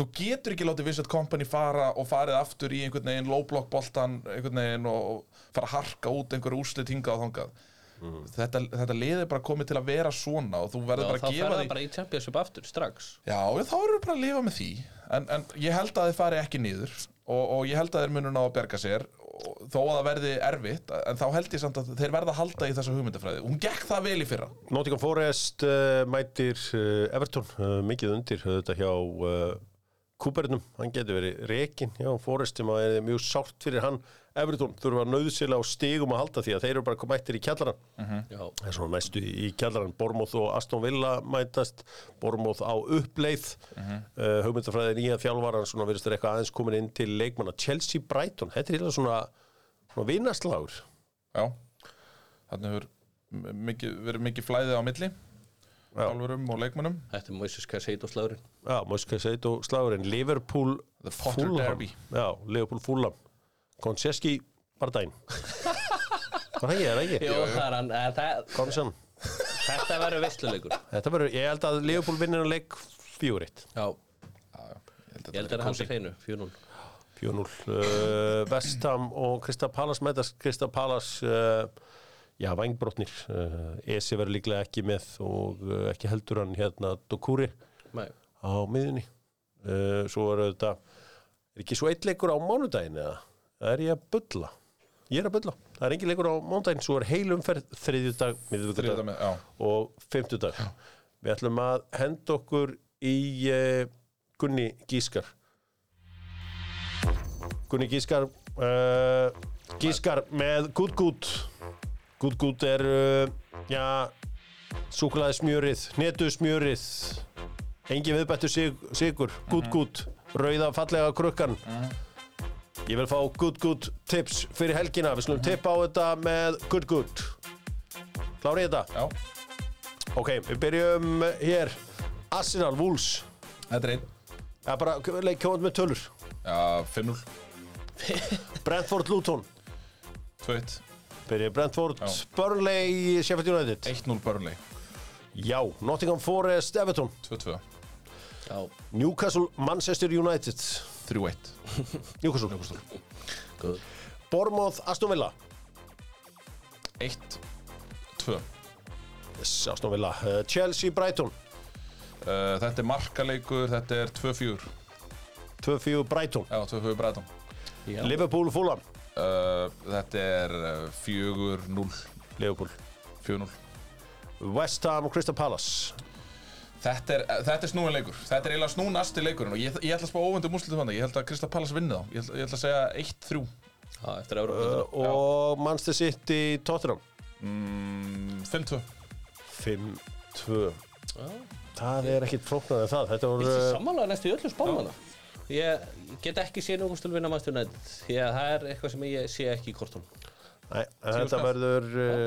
C: Þú getur ekki látið Vincent Kompany fara og farið aftur í einhvern veginn low block boltan einhvern veginn og og fara að harka út einhverju úrslit hingað og þangað þetta, þetta lið er bara komið til að vera svona og þú
B: Mm. Já, þá
C: verður bara
B: fer
C: að gefa
B: það
C: því
B: bara í Championship aftur strax
C: Já, já, þá erum við bara að lifa með því en, en ég held að þeir fari ekki niður og, og ég held að þeir munur ná að berga sér og, þó að það verði erfitt en þá held ég samt að þeir verða að halda í þessa hugmyndafræði hún gekk það vel í fyrra
A: Nottingham Forest uh, mætir uh, Everton uh, mikið undir uh, þetta hjá uh, Cooperunum, hann getur verið rekin hjá Forest sem að er mjög sárt fyrir hann Everton þurfa nöðsila á stigum að halda því að þeir eru bara komið mættir í kjallaran
B: Já,
A: það er svona mestu í kjallaran Bormóð og Aston Villa mætast Bormóð á uppleið uh hugmyndafræði nýja þjálfaran svona virðist þér eitthvað aðeins komin inn til leikmanna Chelsea Brighton, þetta er eitthvað svona, svona vinaslágur
C: Já, þannig hefur m- mikið, verið mikið flæðið á milli álfurum og leikmönnum
B: þetta er Moises Casado slagurinn
A: Já, Moska Seit og slagurinn Liverpool
C: The Potter
A: Fulham.
C: Derby.
A: Já, Liverpool Fulham Konseski Bardæn Var það ekki, er það ekki?
B: Jó, það er hann, eh, það,
A: Konsen
B: þetta verður veistluleikur
A: Þetta verður, ég held að Liverpool vinnir að leik fjóritt
B: Já,
C: Já, já, ég held að
B: ég held að það er hans í hreinu, 4-0
A: 4-0 uh, Vestham og Krista Palas mætast Krista Palas uh, Já, vangbrotnir uh, Esi verður líklega ekki með og uh, ekki heldur hann hérna Dokuri
B: Nei,
A: á miðunni uh, Svo er þetta Er ekki svo eitt leikur á mánudaginn eða? Það er ég að bulla Ég er að bulla, það er engin leikur á mánudaginn Svo er heilumferð þriðjudag, miðvikudag
C: Þriðjudag með- já.
A: og fimmtudag Við ætlum að henda okkur í uh, Gunni Gískar Gunni Gískar uh, Gískar með Good Good Good Good er uh, já, súklaði smjörið netu smjörið engin viðbættur sig, sigur Good Good, rauða fallega krukkan Ég vil fá Good Good tips fyrir helgina, við slum tippa á þetta með Good Good Klárið þetta?
C: Já,
A: Ok, við byrjum hér Arsenal, Wolves
C: þetta er einn
A: Það er bara leik kjóðan með tölur
C: Já, 5-0,
A: Brentford, Luton
C: 2-1,
A: Byrjum Brentford,
C: Já.
A: Burnley, Sheffield United
C: 1-0 Burnley,
A: Já, Nottingham Forest, Everton
C: 2-2,
B: já,
A: Newcastle, Manchester United
C: 3-1
A: Newcastle,
B: góð
A: Bournemouth, Aston Villa
C: 1 2 uh,
A: yes, Aston Villa uh, Chelsea, Brighton
C: Uh, Þetta er markaleikur, þetta er 2-4
A: 2-4 Brighton
C: Já, 2-4 Bræðan
B: Já,
A: Liverpool, Fulham
C: uh, Þetta er uh, 4-0
A: Liverpool
C: 4-0
A: West Ham, Crystal Palace
C: Þetta er, uh, þetta er snúin leikur, þetta er eiginlega snúnasti leikurinn og ég, ég ætla að spá óvendu múslitum þannig, ég held að Krista Pallas vinni þá, ég ætla, ég ætla að segja 1-3,
B: já, eftir Európa
A: uh, og Manchester City, Tottenham
C: mm, 5-2,
A: 5-2 Það er ekkit flóknar en það Þetta voru
B: Ég sé sammálaða næstu í öllum spámanna Ég get ekki séð núgum stil vinna Manchester United Því að það er eitthvað sem ég sé ekki í kortum
A: Nei, en þetta
C: skall.
A: verður, uh,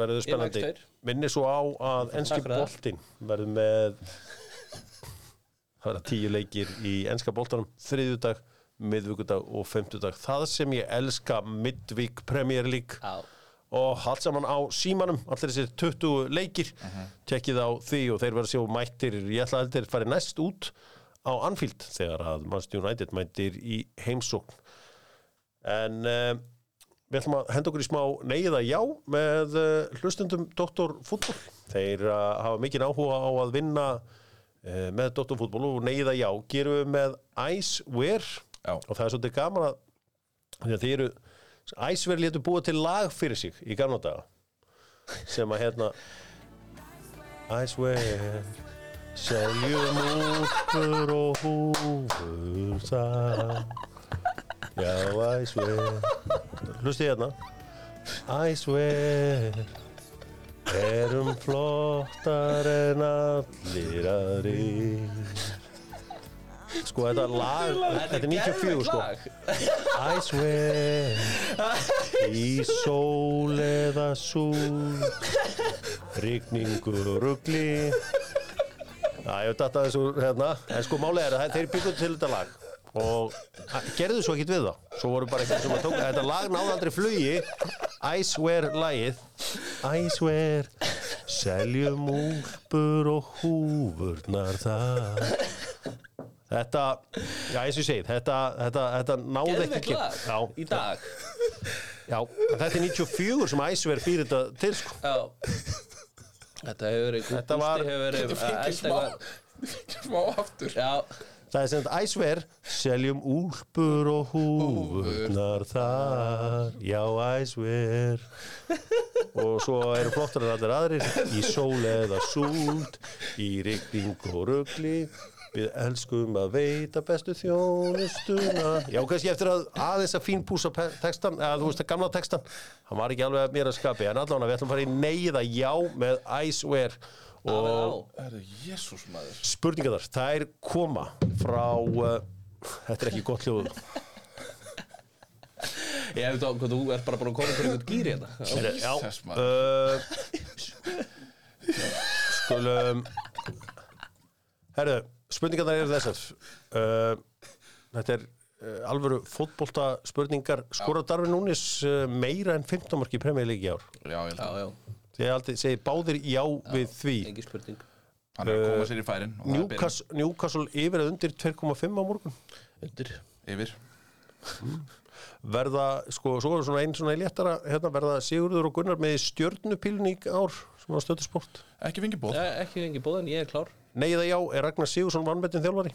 A: verður spennandi.
B: leggst tveir.
A: Minni svo á að enski
B: fyrir það.
A: boltinn verður með það verða tíu leikir í enska boltanum þriðjudag, miðvikudag og fymtudag. Það sem ég elska midvík Premier League
B: Já,
A: og allt saman á símanum allir þessir 20 leikir tekkið á því og þeir verða sjó mættir ég ætla að þeir fari næst út á Anfield þegar að Manchester United mættir í heimsókn en uh, við ætlum að henda okkur í smá neyða já með uh, hlustundum Dr. Fútbol þeir uh, hafa mikinn áhuga á að vinna uh, með Dr. Fútbol og neyða já gerum við með Iceware
C: Já.
A: og það er svolítið gaman að því að þeir eru Iceware létu búa til lag fyrir sig í gamla daga sem að hérna Iceware seljum úfur og húfur saman Já, I swear Hlustið hérna I swear Erum flottar en allir aðrir Sko, þetta lag Þetta er 94, sko I swear Í sól eða súl Rigningu rugli Það er þetta þessu hérna En sko málega er að þeir byggu til þetta lag Og að- gerðu svo ekkert við það Svo voru bara eitthvað sem að tók Þetta lag náði aldrei flugi I swear lagið I swear Seljum úlpur og húfurnar það Þetta, já eins og ég segi Þetta, þetta, þetta náði
B: Geðveikt
A: ekki
B: lag
A: já,
B: í dag
A: já, en þetta er 94 sem Æsver fyrir þetta til sko
B: Já Þetta hefur verið
A: Þetta var-
B: Gústi hefur verið
C: Ég fengi
B: elda
C: smá
B: eitthvað-
C: Smá aftur
B: Já,
A: Það er sem þetta æsver, seljum úlpur og húfurnar þar, já æsver. Og svo eru flottar en allir aðrir, í sól eða súld, í rigning og rugli, við elskum að veita bestu þjónustuna. Já, kannski eftir að aðeins að fínpúsa pe- textan, eða þú veist að gamla textan, hann var ekki alveg að mér að skapi, en allavega við ætlum að fara í neyða já með æsver
B: það var á
A: og
C: Herru, jésús maður
A: spurningar þær koma frá uh, þetta er ekki gott hljóð
B: Ég veit á hvað þú ert bara búin að koma fyrir einhvern gýr hérna Já.
A: Heyrðu, já,
C: Jesus,
A: uh, skulum herru, spurningar þær eru þessar uh, þetta er uh, alvöru fótbolta spurningar skora Darvin Núnis uh, meira en 15 mark í premjörleiki ár
C: Já, ég held
B: Já,
C: að
B: já,
A: þegar aldrei segir báðir já, við því
B: engi spurning
C: Hann er að koma sér í færin og það er byrjun.
A: Newcastle, Newcastle yfir eða undir 2,5 á morgun
B: Undir
C: Yfir
A: verða, sko, svo er svona einn svona léttara, hérna verða Sigurður og Gunnar með í stjörnupílun í ár, svona stöðusport.
C: Ekki fengi bóð
B: Já, ekki engi bóðan, ég er klár
A: Nei eða já, er Ragnar Sigurðsson vannmettin þjálfari?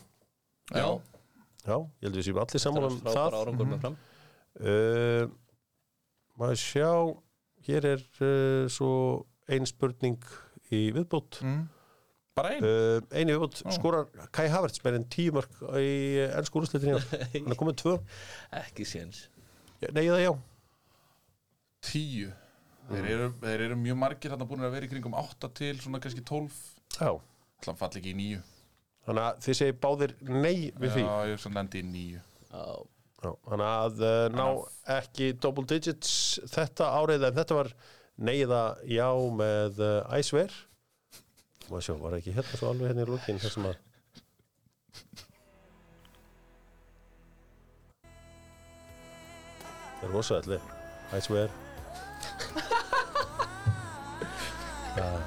C: Já
A: Já, ég held við séum allir
B: Það
A: sammála
B: er
A: um
B: frábæra
A: það.
B: árangur með fram
A: Uh, maður sjá, hér er uh, svo ein spurning í viðbót.
C: Mm. Bara einn
A: Uh, einu viðbót skorar Kai Havertz með enn tíu mörg í ennsku úrslitin í ár. Hann er komið tvö.
B: Ekki séns
A: Nei eða já.
C: Tíu Þeir eru, þeir eru mjög margir þarna búin að vera í kringum 8 til svona kannski 12
A: Já.
C: Þannig falli ekki í níu
A: Þannig að þið segir báðir nei við því.
C: Já, ég er svona lendi í níu
B: Já,
A: Já, Þannig að uh, ná ekki double digits þetta árið en þetta var neyða já með uh, Æsver og sjá, var ekki hérna svo alveg hérna í lókin þessum að Það er rosa ætli Æsver Ah.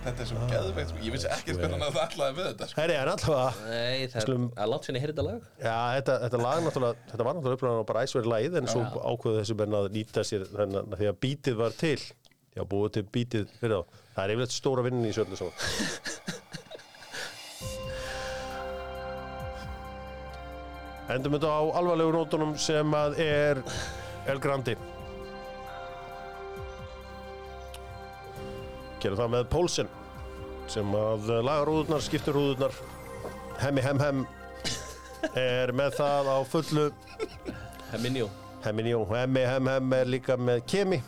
C: Þetta er
A: Ah,
C: svo geðveikt sko. Ég vissi ekkert hvernig hann ætlaði með þetta sko.
A: Herri, en allavega
B: nei, það er
A: Skulum-
B: að látt sinni heyrði þetta lag
A: Já, þetta, þetta lag náttúrulega, þetta var náttúrulega upplæðan og bara æsverið lagið en svo ákveðu þessu menn að nýta sér þennan því að bítið var til Já, búið til bítið fyrir þá Það er yfirleitt stóra vinnin í sjöldinu svo Endum þetta á alvarlegu nótunum sem að er El Grandi Gerum það með Pólsen sem að laga rúðurnar, skiptir rúðurnar hemmi hemm hemm er með það á fullu
B: Heminjó
A: Hemminjó, hemmi, hemm, hemm er líka með kemi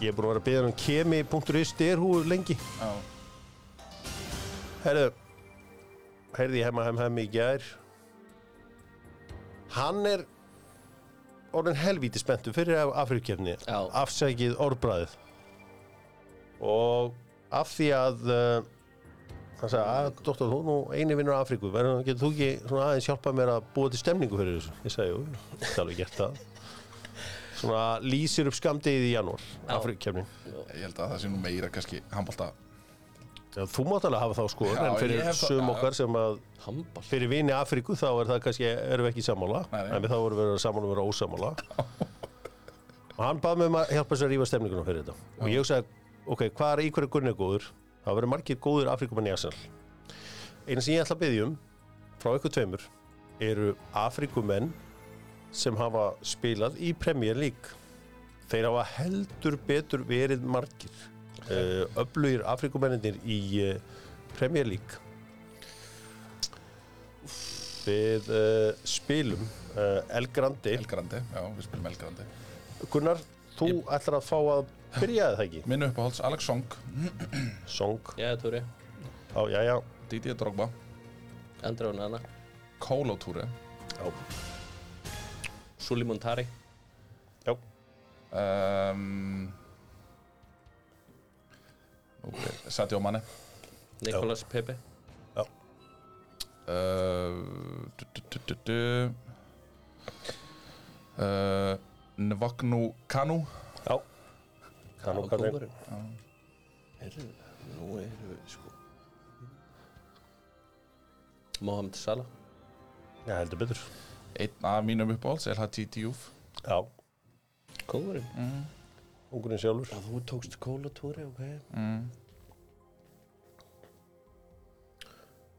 A: ég er búin að vera að byggja um kemi.is styrhú lengi
C: Já.
A: herðu heyrði ég hemma, hemm, hemm í gær hann er orðin helvíti spenntu fyrir afrikkefni
B: Já.
A: afsækið orðbræðið og af því að uh, hann sagði, að doktor, þú nú eini vinnur Afríku, verður- getur þú ekki svona aðeins hjálpa mér að búa til stemningu fyrir þessu? Ég sagði, jú, það er alveg gert það. Svona lýsir upp skamdegið í janúar,
B: Já.
A: Afríkukefnin.
D: Ég held að það sé nú meira kannski handbalta
A: Já, þú mátt alveg hafa þá skoðun,
C: Já,
A: en
C: ég
A: fyrir
C: hef þá-
A: sum okkar sem að
B: Hambal
A: fyrir vini Afríku þá er það kannski, erum við ekki sammála,
C: Nei, nei.
A: en við þá erum við að vera sammála og vera ósammála. og hann bað mig um að hjálpa sér að rífa stemninguna fyrir þetta. Og ég sagði, ok, hvað er í hverju gunni góður? Það verður margir góður Afríkumenn í Arsenal. Einu sem ég ætla að biðja um, frá ykkur tveimur, eru Afríkumenn sem hafa spilað í Premier League. Þeir hafa heldur betur verið margir. Uh, öflugir Afríkumennir í uh, Premier League Við uh, spilum uh, El Grandi.
D: Elgrandi, já, við spilum Elgrandi
A: Gunnar, þú ætlar að fá að byrja eða ekki?
C: Minn uppáhalds Alex Song,
A: Song,
B: Já, Túri
A: á, já, já,
C: Didier Drogba,
B: Andra og Nana
C: Kolo Ture,
A: já,
B: Suli Montari
A: já.
C: um, okay. Sadio Mane,
B: Nikolas Pepe
C: uh, du, du, du, du, du. Uh, Nvagnu Kanu,
A: já. Kannu,
B: og
A: kannu.
B: kóngurinn.
C: Ah.
B: Heyrðu, Nú erum við sko Mohamed Salah
A: Já, heldur betur.
C: einn af mínum uppáhalds, LHT Diouf.
A: Já,
B: Kóngurinn?
C: Mhm,
A: ungurinn sjálfur.
B: Já, þú tókst kólatúri, ok
C: Mm.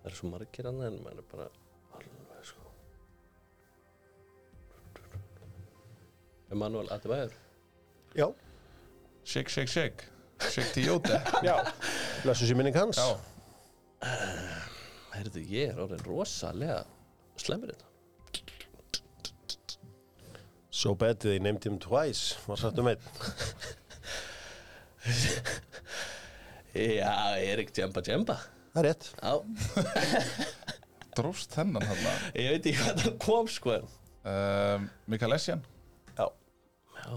B: Það eru svo margir annað en maður er bara alveg sko Emanuel Adebayor
A: Já,
C: Shake, shake, shake. Shake Tiote.
A: já. Lesu sér minning hans.
C: Já,
B: Herðu, ég er orðin rosalega hérna. slemur þetta
A: So bad they named him twice. Var sagt um einn.
B: Já, Erik Djemba Djemba
A: Það er rétt.
B: Já,
C: dróst þennan hann.
B: ég veit ekki hvað það kom sko
C: Um, Mikael Essien.
A: Já.
B: Já,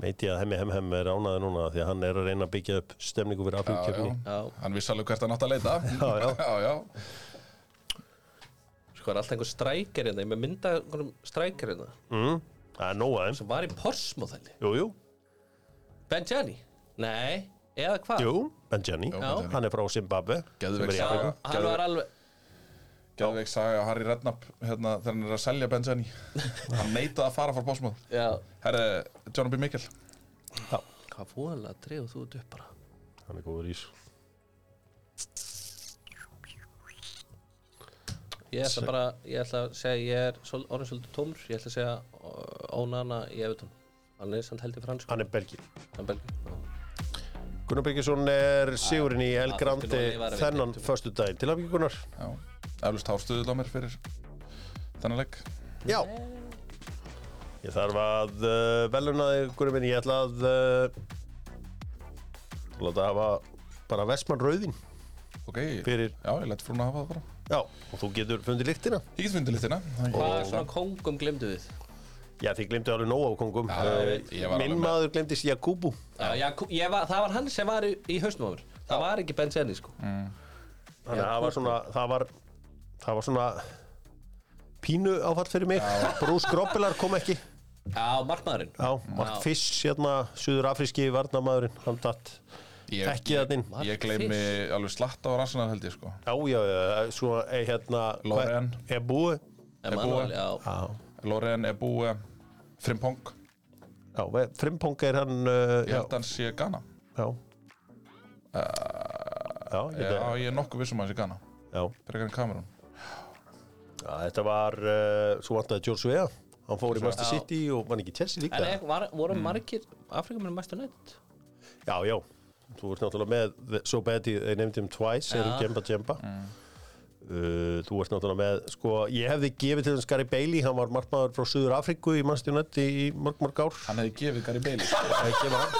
A: Veit ég að hemmi hemm hemm er ánaði núna því að hann er að reyna að byggja upp stemningu fyrir Afríkukefni.
B: já
C: Hann vissi alveg hvert hann átt að leita.
A: Já, já.
C: já, já.
B: Sko er alltaf einhver strækir hérna Ég er með mynda einhverjum strækir hérna
A: Mm, Það er nóg aðeins.
B: sem var í Porsmóðalli
A: Jú, jú.
B: Benjani? Nei, eða hvað?
A: Jú, Benjani.
B: Já.
A: Hann er frá Zimbabwe. Sem er
C: Geðveik
A: í
B: Já,
A: Afríku.
B: hann var alveg
C: Gjörðveik saga á Harry Redknapp hérna, þegar hann er að selja Benjani. hann neitaði að fara frá Bosmóð.
B: Já,
C: Herre, John B. Mikkel.
B: hvað fóðalega dregur þú þetta upp bara
A: Hann er góður í þessu.
B: Ég ætla bara, ég ætla að segja ég er svol, orðin svolítið tómur, ég ætla að segja uh, Ónana í Evertón Hann er samt held í fransku,
A: Hann er belgir.
B: hann belgir
A: Gunnar Byrkesson er sigurinn í El
B: Já,
A: Grandi
B: þurfti nú að lifa að vera
A: þennan förstu daginn. Til að byggja Gunnar.
C: Já. Eflust hárstuðið á mér fyrir þennan legg.
A: Já. Ég þarf að uh, veluna þig, Gunnar minn. Ég ætla að uh, láta hafa bara Vestmann Rauðin
C: Ok,
A: fyrir.
C: já, ég lett frúna að hafa það bara.
A: Já, og þú getur fundið lyktina.
C: Ég get fundið litina.
B: Hvað svona kóngum glemdu við?
A: Já, þið glemdu alveg nóg af kongum.
C: Já, ég veit, ég var
A: Minn
C: alveg með.
A: maður glemdist Jakubu.
B: Já, já, ég var, það var hann sem var í, í haustum á mér Það var ekki Benzeni sko
A: Þannig að það var svona, það var, það var svona pínu áfall fyrir mig. Brús Groppelar kom ekki.
B: Já, markmaðurinn
A: Já, Mark Fiss, hérna, suður-afríski varnamaðurinn, hann datt
C: Ég,
A: ekki þarna inn.
C: ég gleymi alveg slatta á rassunar held ég sko.
A: Já, já, já, svo er hérna...
C: Lorraine.
A: Er búið.
B: Emanuel, já,
A: Já,
C: Loren Ebue Frimpong.
A: já, ve- Frimpong er hann... Uh,
C: Ég held að hann sé Ghana.
A: Já. Já, ég veit
C: Já,
A: það.
C: ég er nokkuð vissum að hann sé Ghana.
A: Já,
C: Frekar en Kamerún.
A: Já, þetta var, uh, svo vantaði George Weah, hann fór í Master
B: Já.
A: City og var hann ekki í Chelsea líka.
B: En ek, var, voru margir Afrikamennum mæstu nætt?
A: Já, já, þú ert náttúrulega með The- So Bad They Named Him Twice,
B: Já.
A: erum Jemba Jemba.
C: Mm.
A: Uh, þú ert náttúrulega með, sko, ég hefði gefið til hans Gary Bailey, hann var margmaður frá Suður Afríku í Master United í mörg, mörg ár.
C: Hann hefði gefið Gary Bailey sko.
A: Það kemur hann.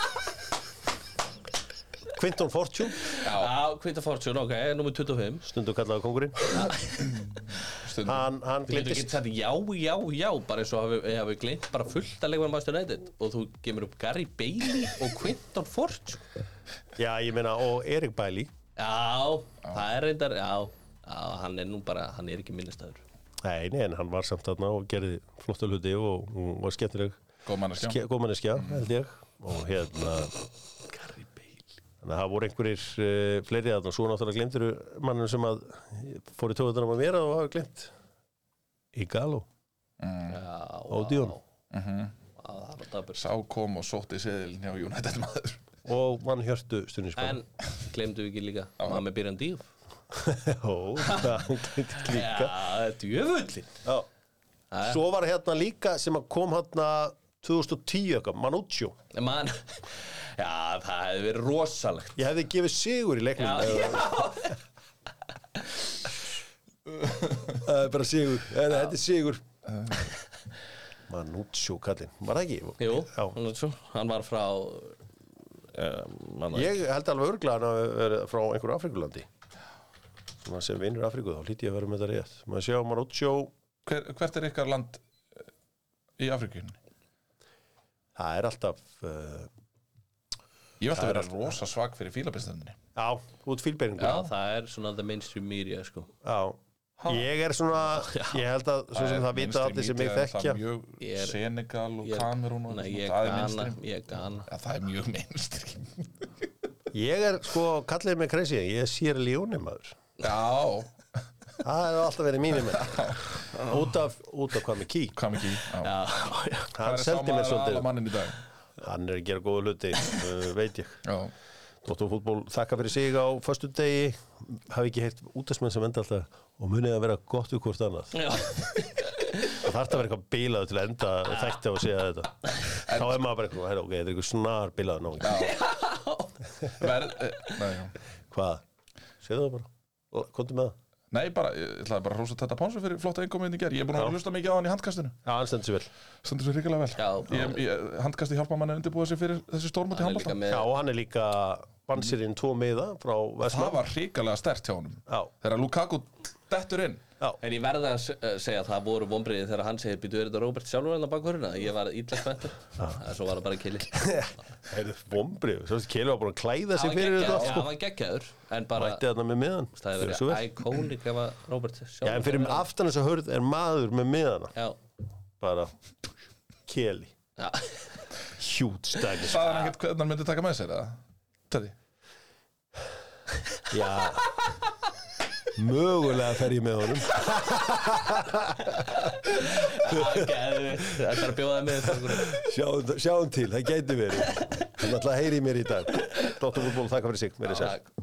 A: Quinton Fortune,
B: Já, Quinta Fortune, ok, nummer 25
A: stundu kallaði kongurinn.
C: stundum
A: hann, hann
B: Þú getur
A: glindist
B: ekki sagt já, já, já bara eins og hafi, hafi gleymt bara fullt að leikmann Master United og þú gemur upp Gary Bailey og Quinton sko. Forge
A: Já, ég meina, og Erik Bæli
B: Já, það er reyndar, já, já hann er nú bara, hann er ekki minnistæður
A: Nei, nei, en hann var samt þarna og gerði flotta hluti og, og var skemmtileg
C: góð manneskja
A: Ske- góð manneskja, held ég og hérna
B: Gary Bailey
A: þannig að það voru einhverjir uh, fleiri að svo náttúrulega glemtiru mannum sem að fór í tóðunum að mér að það var glemt í galó Mm.
B: Já,
A: og Díon
B: já, það var dabur
C: sá kom og sótti seðilin hjá United maður
A: og mann hjörtu stundinskóla
B: En, glemdu ekki líka, maður með Byrjan Díon
A: Jó, það glemti líka
B: Já, djöfullin
A: Já. Svo var hérna líka sem að kom hérna 2010 eitthvað, Manuccio
B: Man, já, það hefði verið rosalegt
A: Ég hefði gefið sigur í leiknum
B: Já,
A: eða-
B: já,
A: Það er bara sigur, en þetta er sigur Manuccio kallinn, var það ekki?
B: jú,
A: Já.
B: hann er svo, hann var frá um,
A: Ég held alveg örgla hann að vera frá einhverju Afrikulandi Svona sem vinnur Afriku þá hlýti ég að vera með þetta rétt Maður sjá Manuccio,
C: Hver, hvert er ykkar land eh, í Afrikunni?
A: það er alltaf uh,
C: Ég veldi að vera rosa svag fyrir fílabinstöndinni
A: Já, út fílbeiningur
B: Já, það er svona the mainstream media sko.
A: Já. Ég er svona, ég held að svo sem það vita allir sem mig þekkja
C: mjög
B: Ég er-
C: Senegal og
B: Ég-
C: Kamerún og
B: Nei,
C: svona,
B: ég
C: það er
B: gana,
C: mainstream.
B: ég gana
C: Já, það er mjög mainstream
A: Ég er sko, kallið mig crazy, ég er sér ljóni maður
C: Já,
A: Það hefur alltaf verið mínir með út af, út af hvað með ký
C: hvað mikið
B: Já, já,
A: Hann seldi mér svolítið
C: mannin í dag
A: Hann er að gera góða hluti, uh, veit ég
C: Já,
A: Dóttur fútból þakka fyrir sig á föstu degi hafi ekki heyrt útastmenn sem enda alltaf og munið að vera gott við hvort annað
B: já.
A: og þarf það að vera eitthvað bílaðu til að enda þekkt á að segja þetta þá er maður bara eitthvað, "Herra, ok, þetta er eitthvað snar bílaðu nóg
C: verð eh, Nei, já
A: hvað, segðu það bara komdu með það,
C: Nei, bara, ég ætlaði bara að hrósa Tata Pánsu fyrir flotta einkominn í gerð. Ég er búin að hlusta mikið á hann í handkastinu.
A: já, hann stendur sér vel
C: Stendur svo hrikalega vel.
B: Já,
C: ég, ég, handkasti hjálpa manni að undirbúa sér fyrir þessi stórmóti
B: hann er líka
C: handbólta.
B: með
A: já, hann er líka bansirinn tvo miða frá Vesma
C: Það var hrikalega stert hjá honum.
A: já,
C: Þegar Lukaku dettur inn.
A: já,
B: En ég verða að se- uh, segja að það voru vombriðið þegar hann segir býtu er þetta Robert sjálfur en á bakhverjuna Ég var illa spenntur En svo var það bara killi
A: það er vombrið svo Kjell var búin að klæða sig
B: Hann
A: fyrir þetta allt, sko.
B: var geggjaður En bara,
A: mætti þarna með miðan
B: það
A: Gjörðu
B: hefur
A: svo vel.
B: verið iconic ef að Robert sjálfur
A: Já, en fyrir aftan þess að hörð er maður með miðana
B: Já,
A: bara keli
B: já
A: hjút stæmi
C: Það er ekkert hvernig hann myndi taka með sér, eða? Teddy.
A: já mögulega fer ég með honum
B: Það er að bjóða með þetta
A: sjáum, sjáum til, það gæti verið hann ætla að heyri mér í dag Dóttur Fútból, þakka fyrir sig, verið sæl
B: Takk